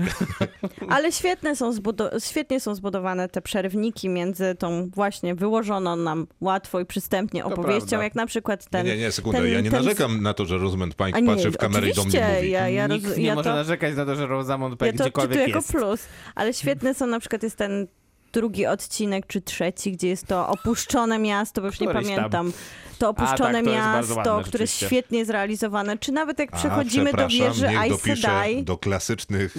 Ale świetne są zbudo- świetnie są zbudowane te przerwniki między tą właśnie wyłożoną nam łatwo i przystępnie opowieścią, prawda. jak na przykład ten... nie, nie, nie, sekundę, ten- ja nie ten- narzekam na to, że Rosamund A Pike nie, patrzy w kamerę i do mnie oczywiście, mówi. Ja, ja roz- Nikt nie ja może to, narzekać na to, że Rosamund ja Pike to gdziekolwiek czytuję jako jest. plus, ale świetne są na przykład jest ten drugi odcinek, czy trzeci, gdzie jest to opuszczone miasto, bo już nie Któryś tam. pamiętam. To opuszczone tak, to jest bardzo miasto, ładne, które jest rzeczywiście. świetnie zrealizowane, czy nawet jak A, przechodzimy do przepraszam, wieży No. niech Aes dopiszę Sedai, do No. klasycznych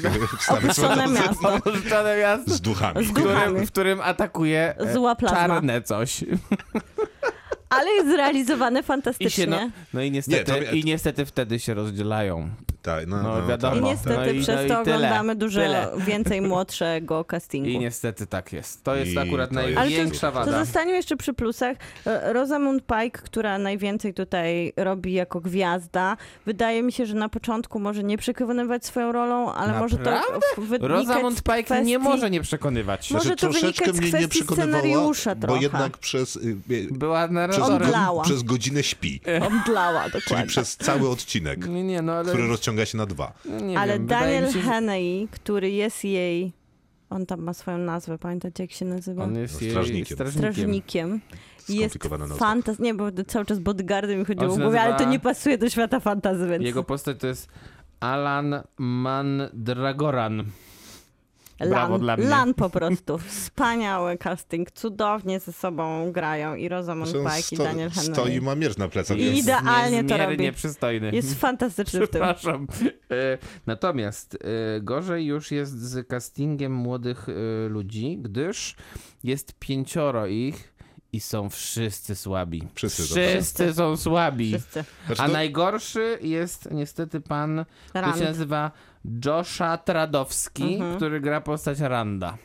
opuszczone wstawień miasto. Opuszczone miasto, z duchami. Z w którym, Duchami. w którym atakuje e, Zła plazma. czarne coś. Ale jest zrealizowane I fantastycznie. się, no, no i niestety, Nie, to- i niestety wtedy się rozdzielają. Tak, no, No, no, wiadomo. I No, niestety no i- przez no i to tyle, oglądamy dużo tyle. więcej młodszego castingu. I niestety tak jest. To jest I akurat to jest- To największa wada. zostaniemy jeszcze przy plusach. E, Rosamund Pike, która najwięcej tutaj robi jako gwiazda, wydaje mi się, że na początku może nie przekonywać swoją rolą, ale może to Naprawdę? w- w- wynikać Rosamund z Pike kwestii... nie może nie przekonywać. Może to troszeczkę wynikać z mnie nie kwestii przekonywała, scenariusza bo trochę. jednak przez, y, y, Była przez, narratorem. Omdlała. go, przez godzinę śpi, Omdlała, dokładnie. czyli przez cały odcinek, Nie, nie, no ale... który rozciąga się na dwa. no, nie ale wiem, wydaje Daniel mi się, że Henney, który jest jej... On tam ma swoją nazwę, pamiętacie jak się nazywa? On jest jej Strażnikiem. strażnikiem. strażnikiem. Jest Skomplikowana nazwa. fantas... Nie, bo cały czas bodyguardy mi chodziło On w się głowie, ale to nazywa- nie pasuje do świata fantasy, więc Jego postać to jest Alan Mandragoran. Lan, Brawo dla mnie. Lan po prostu. Wspaniały casting. Cudownie ze sobą grają i Rosamund Zresztą Pike i Znaczy, sto- Daniel Henry. Stoi, ma mierz na plecach. I- więc- Idealnie to niezmiernie robi. przystojny. Jest fantastyczny w tym. Przepraszam. E, Natomiast e, gorzej już jest z castingiem młodych e, ludzi, gdyż jest pięcioro ich i są wszyscy słabi. Wszyscy są wszyscy są słabi. Wszyscy. Znaczy, A to- najgorszy najgorszy jest niestety pan, który Rand. Mhm. się nazywa Josha Tradowski, który gra postać Randa.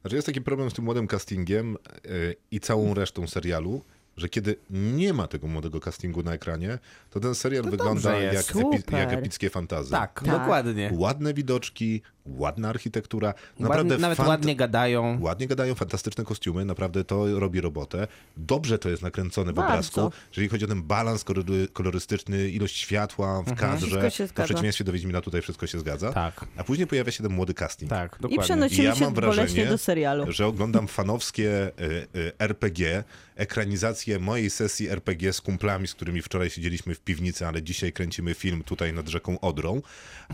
Znaczy jest taki problem z tym młodym castingiem y, i całą resztą serialu, że kiedy nie ma tego młodego castingu na ekranie, to ten serial wygląda dobrze jest. jak, epi- jak Super. epickie fantazy. Tak, Tak. dokładnie. Ładne widoczki, ładna architektura, naprawdę Ładnie, nawet fant- ładnie gadają. Ładnie gadają, fantastyczne kostiumy, naprawdę to robi robotę. Dobrze to jest nakręcone w Bardzo. obrazku, jeżeli chodzi o ten balans kolory- kolorystyczny, ilość światła w kadrze. Wszystko się to w zgadza. przeciwieństwie do Wiedźmina tutaj wszystko się zgadza. Tak. A później pojawia się ten młody casting. Tak, dokładnie. I przenosimy Ja się mam boleśnie wrażenie, do serialu. że oglądam fanowskie y, y, RPG, ekranizację mojej sesji RPG z kumplami, z którymi wczoraj siedzieliśmy w piwnicy, ale dzisiaj kręcimy film tutaj nad rzeką Odrą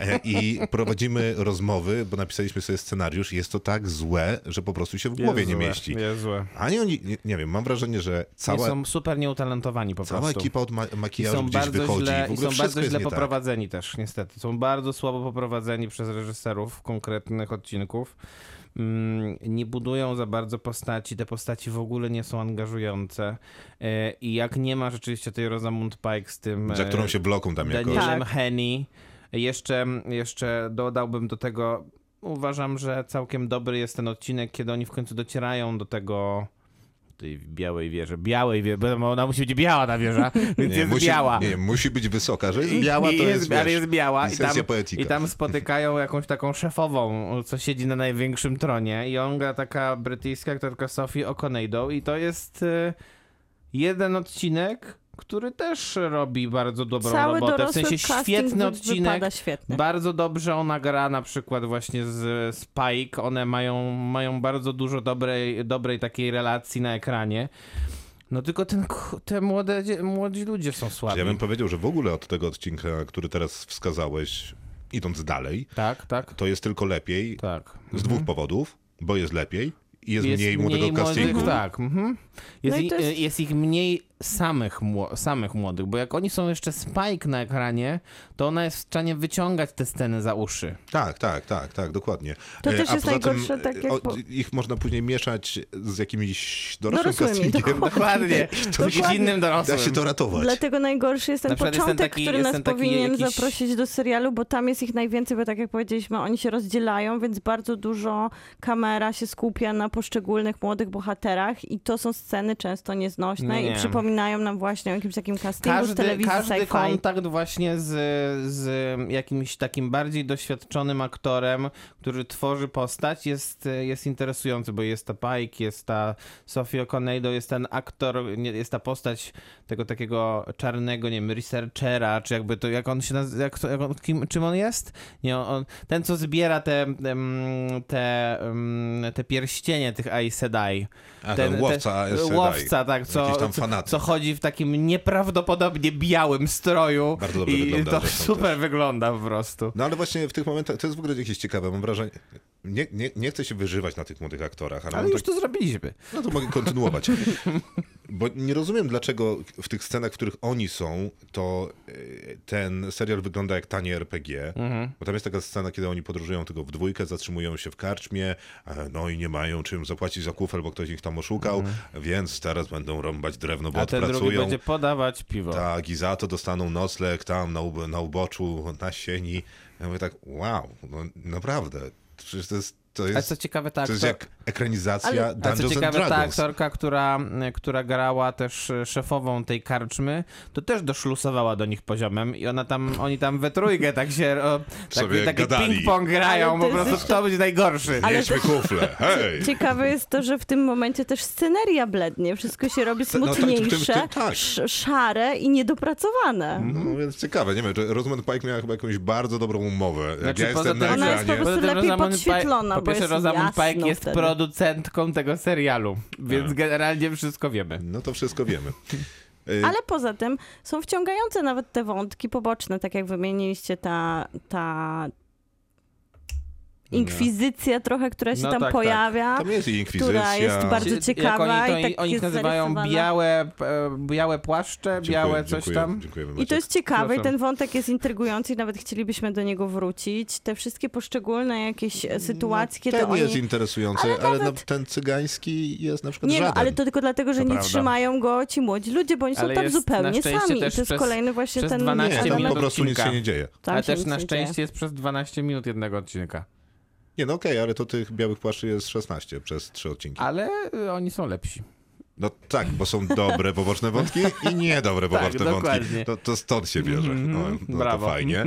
e, i prowadzimy rozmowy, bo napisaliśmy sobie scenariusz i jest to tak złe, że po prostu się w głowie nie mieści. Jest złe. Ani oni, nie, nie wiem, mam wrażenie, że Oni cała, są super nieutalentowani po cała prostu. ekipa od ma- I makijażu są gdzieś bardzo wychodzi. źle, w i ogóle są wszystko bardzo jest źle nie tak. poprowadzeni też, niestety. Są bardzo słabo poprowadzeni przez reżyserów konkretnych odcinków. Mm, Nie budują za bardzo postaci, te postaci w ogóle nie są angażujące. E, I jak nie ma rzeczywiście tej Rosamund Pike z tym. Za e, którą się bloką tam jakoś. Danielem Tak. Heni. Jeszcze, jeszcze dodałbym do tego, uważam, że całkiem dobry jest ten odcinek, kiedy oni w końcu docierają do tego tej białej wieży. Białej wieży, bo ona musi być biała ta wieża, więc jest musi, biała. nie, musi być wysoka, że jest I- biała to i jest, wiesz, ale jest biała i tam, licencja poetyka. i tam spotykają jakąś taką szefową, co siedzi na największym tronie i on gra taka brytyjska aktorka Sophie O'Coneido i to jest y, jeden odcinek, który też robi bardzo dobrą Cały robotę, w dorosły sensie casting świetny wy- odcinek. wypada tak. świetnie. Bardzo dobrze ona gra na przykład właśnie z Spike. One mają, mają bardzo dużo dobrej, dobrej takiej relacji na ekranie. No tylko ten, ku- te młode, dzie- młodzi ludzie są słabi. Ja bym powiedział, że w ogóle od tego odcinka, który teraz wskazałeś, idąc dalej, Tak, tak, to jest tylko lepiej tak. z dwóch powodów, bo jest lepiej i jest, mniej młodego castingu. Młodych, tak. Mhm. Jest, No i i- to jest- jest ich mniej samych, mło, samych młodych, bo jak oni są jeszcze Spike na ekranie, to ona jest w stanie wyciągać te sceny za uszy. Tak, tak, tak, tak, dokładnie. To E, też A jest poza tym, najgorsze, tak e, jak o- po- No, Ich można później mieszać z jakimś dorosłym Dorosłymi, castingiem. dokładnie. Dokładnie. To Z jakimś innym dorosłym. Da się to ratować. tak, Dlatego najgorszy jest ten Na przykład jest ten początek, taki- który jest nas ten taki powinien jakiś- zaprosić do serialu, bo tam jest ich najwięcej, bo tak jak powiedzieliśmy, oni się rozdzielają, więc bardzo dużo kamera się skupia na poszczególnych młodych bohaterach i to są sceny często nieznośne No Nie, nie. i przypominają nam właśnie o jakimś takim castingu z Każdy, telewizji każdy sci-fi. kontakt właśnie z, z jakimś takim bardziej doświadczonym aktorem, który tworzy postać, jest, jest interesujący, bo jest ta Pike, jest ta Sophie O'Coneido, jest ten aktor, nie, jest ta postać tego takiego czarnego, nie wiem, researchera, czy jakby to, jak on się nazywa, jak, to- jak on, kim, czym on jest? Nie, on- on, ten, co zbiera te, em, te, em, te pierścienie tych Aes Sedai. A, ten łowca Aes Sedai. Łowca, tak, co, Jakiś tam co, fanatyk. co chodzi w takim nieprawdopodobnie białym stroju. Bardzo dobrze I wygląda to zresztą super wygląda po prostu. No ale właśnie w tych momentach, to jest w ogóle jakieś ciekawe, mam wrażenie, nie, nie, nie chcę się wyżywać na tych młodych aktorach, ale, Ale mam już tak, to zrobiliśmy. no to mogę kontynuować. Bo nie rozumiem, dlaczego w tych scenach, w których oni są, to y, ten serial wygląda jak tanie RPG. Mhm. Bo tam jest taka scena, kiedy oni podróżują tylko w dwójkę, zatrzymują się w karczmie, e, no i nie mają czym zapłacić za kufel, bo ktoś ich tam oszukał, więc teraz będą rąbać drewno, bo Mhm. A ten drugi odpracują. będzie podawać piwo. Tak, i za to dostaną nocleg tam na, ub- na uboczu, na sieni. Ja mówię tak, wow, no naprawdę, przecież to jest... To jest... A co ciekawe, ta to jest aktor- jak ekranizacja Ale- A co Dungeons and ciekawe, tak, ta Dragons. aktorka, która, która grała też e, szefową tej karczmy, to też doszlusowała do nich poziomem i ona tam, oni tam we trójkę tak się, o, Sobie taki, taki gadali. ping-pong grają, Ale po to jest prostu kto będzie najgorszy. Ale Mieliśmy kufle, hej! Ciekawe jest to, że w tym momencie też sceneria blednie, wszystko się robi no tak, w tym- w tym- smutniejsze, tak. sz- szare i niedopracowane. No więc ciekawe, nie wiem, czy Rosamund Pike miała chyba jakąś bardzo dobrą umowę. Jak Znaczy, ja poza jestem na tym- Ona ekranie. jest po prostu- Poza tym lepiej Rosamund Pike- podświetlona, Po bo pierwsze, jest Rosamund jasno Pike jest wtedy. producentką tego serialu, więc Tak. generalnie wszystko wiemy. No to wszystko wiemy. Y, Ale poza tym są wciągające nawet te wątki poboczne, tak jak wymieniliście ta, ta inkwizycja trochę, która się No tam tak, tak. pojawia. Tam jest i inkwizycja. która jest bardzo- Jak ciekawa oni, to, i tak oni ich jest nazywają zarysowana. białe, e, białe płaszcze, Dziękuję, białe coś dziękuję, tam. Dziękujemy, I to Maciek. jest ciekawe, i Przepraszam. ten wątek jest intrygujący i nawet chcielibyśmy do niego wrócić. Te wszystkie poszczególne jakieś e, sytuacje, kiedy No, Ten oni... jest interesujący, ale, nawet- no, ten cygański jest na przykład Nie, no, żaden. ale to tylko dlatego, że To nie prawda. trzymają go ci młodzi ludzie, bo oni są Ale tam jest na zupełnie szczęście sami. I to też jest przez- kolejny właśnie przez ten 12 nie, tam element. po minut prostu nic odcinka. się nie dzieje. Tam Ale się też nic na nie szczęście dzieje. jest przez 12 minut jednego odcinka. Nie, no okej, ale to tych białych płaszczy jest 16 przez trzy odcinki. Ale y, oni są lepsi. No tak, bo są dobre poboczne wątki i niedobre Tak, poboczne wątki. dokładnie. Mhm, To, to stąd się bierze. No, no to brawo. fajnie.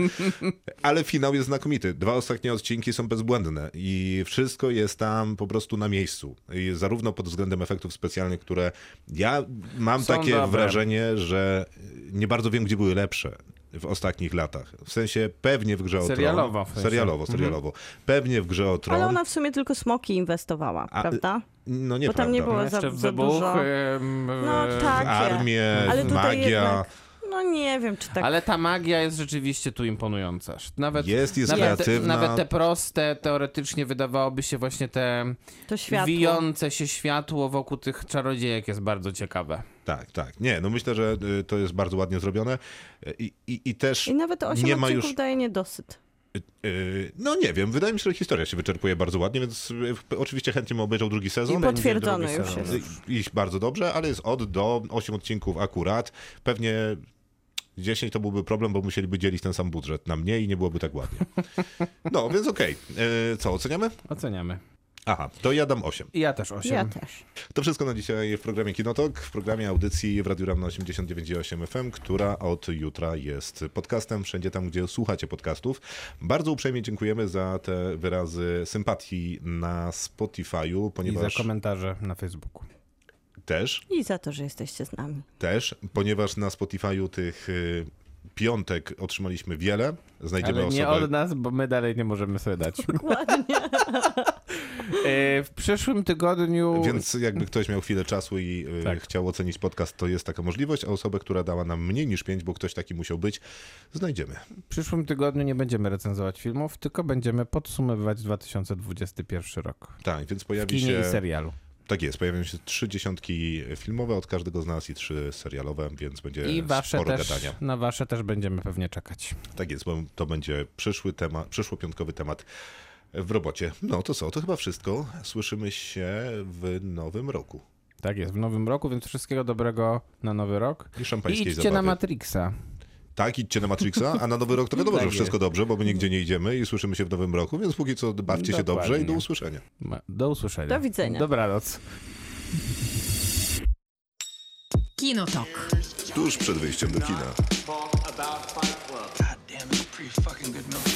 Ale finał jest znakomity. Dwa ostatnie odcinki są bezbłędne i wszystko jest tam po prostu na miejscu. I zarówno pod względem efektów specjalnych, które ja mam Są takie dobre. wrażenie, że nie bardzo wiem, gdzie były lepsze w ostatnich latach. W sensie pewnie w grze o Serialowo w Tron. sensie. Mhm. Serialowo, serialowo. Pewnie w grze o Tron. Ale ona w sumie tylko smoki inwestowała, A, prawda? No nie Bo tam nie było za, Jeszcze w za dużo. wybuch. e, ym, w- No tak. W armię, Ale tutaj magia. jednak, no nie wiem, czy tak. Ale ta magia jest rzeczywiście tu imponująca. Nawet, Jest, jest nawet, te, kreatywna. nawet te proste, teoretycznie wydawałoby się właśnie te to światło. wijące się światło wokół tych czarodziejek jest bardzo ciekawe. Tak, tak. Nie, no myślę, że y, to jest bardzo ładnie zrobione i, i, i też I nawet 8 nie ma odcinków już... daje niedosyt. y, No nie wiem, wydaje mi się, że historia się wyczerpuje bardzo ładnie, więc y, p- oczywiście chętnie bym obejrzał drugi I sezon. potwierdzone drugi już sezon. jest. Y, Iść bardzo dobrze, ale jest od do 8 odcinków akurat. Pewnie 10 to byłby problem, bo musieliby dzielić ten sam budżet na mnie i nie byłoby tak ładnie. No, więc okej. Y, Co, oceniamy? Oceniamy. Aha, to ja dam 8. I ja też 8. Ja też. To wszystko na dzisiaj w programie Kinotok, w programie audycji w Radiu Ram na 89,8 FM, która od jutra jest podcastem, wszędzie tam, gdzie słuchacie podcastów. Bardzo uprzejmie dziękujemy za te wyrazy sympatii na Spotify'u, I za ponieważ komentarze na Facebooku. też, I za to, że jesteście z nami. też, ponieważ na Spotify'u tych y, piątek otrzymaliśmy wiele. Znajdziemy Ale nie osobę... od nas, bo my dalej nie możemy sobie dać. Dokładnie. E, W przyszłym tygodniu... Więc jakby ktoś miał chwilę czasu i y, Tak. chciał ocenić podcast, to jest taka możliwość, a osobę, która dała nam mniej niż pięć, bo ktoś taki musiał być, znajdziemy. W przyszłym tygodniu nie będziemy recenzować filmów, tylko będziemy podsumowywać 2021 rok. Tak, więc W pojawi kinie się... i serialu. Tak jest, pojawią się trzy dziesiątki filmowe od każdego z nas i trzy serialowe, więc będzie I wasze e, sporo też, gadania. na wasze też będziemy pewnie czekać. Tak jest, bo to będzie przyszły temat, przyszłopiątkowy temat w robocie. No to co, to chyba wszystko. Słyszymy się w nowym roku. Tak jest, w nowym roku, więc wszystkiego dobrego na nowy rok. I I szampańskiej idźcie zabawy. na Matrixa. tak, idźcie na Matrixa, a na nowy rok to wiadomo, Tak że wszystko dobrze, bo my nigdzie nie idziemy i słyszymy się w nowym roku, więc póki co bawcie się dobrze i do Dokładnie. usłyszenia. Ma- Do usłyszenia. Do widzenia. Dobranoc. Kinotok. Tuż przed wyjściem do kina. Talk about Fight Club. God damn, it's a pretty fucking good movie.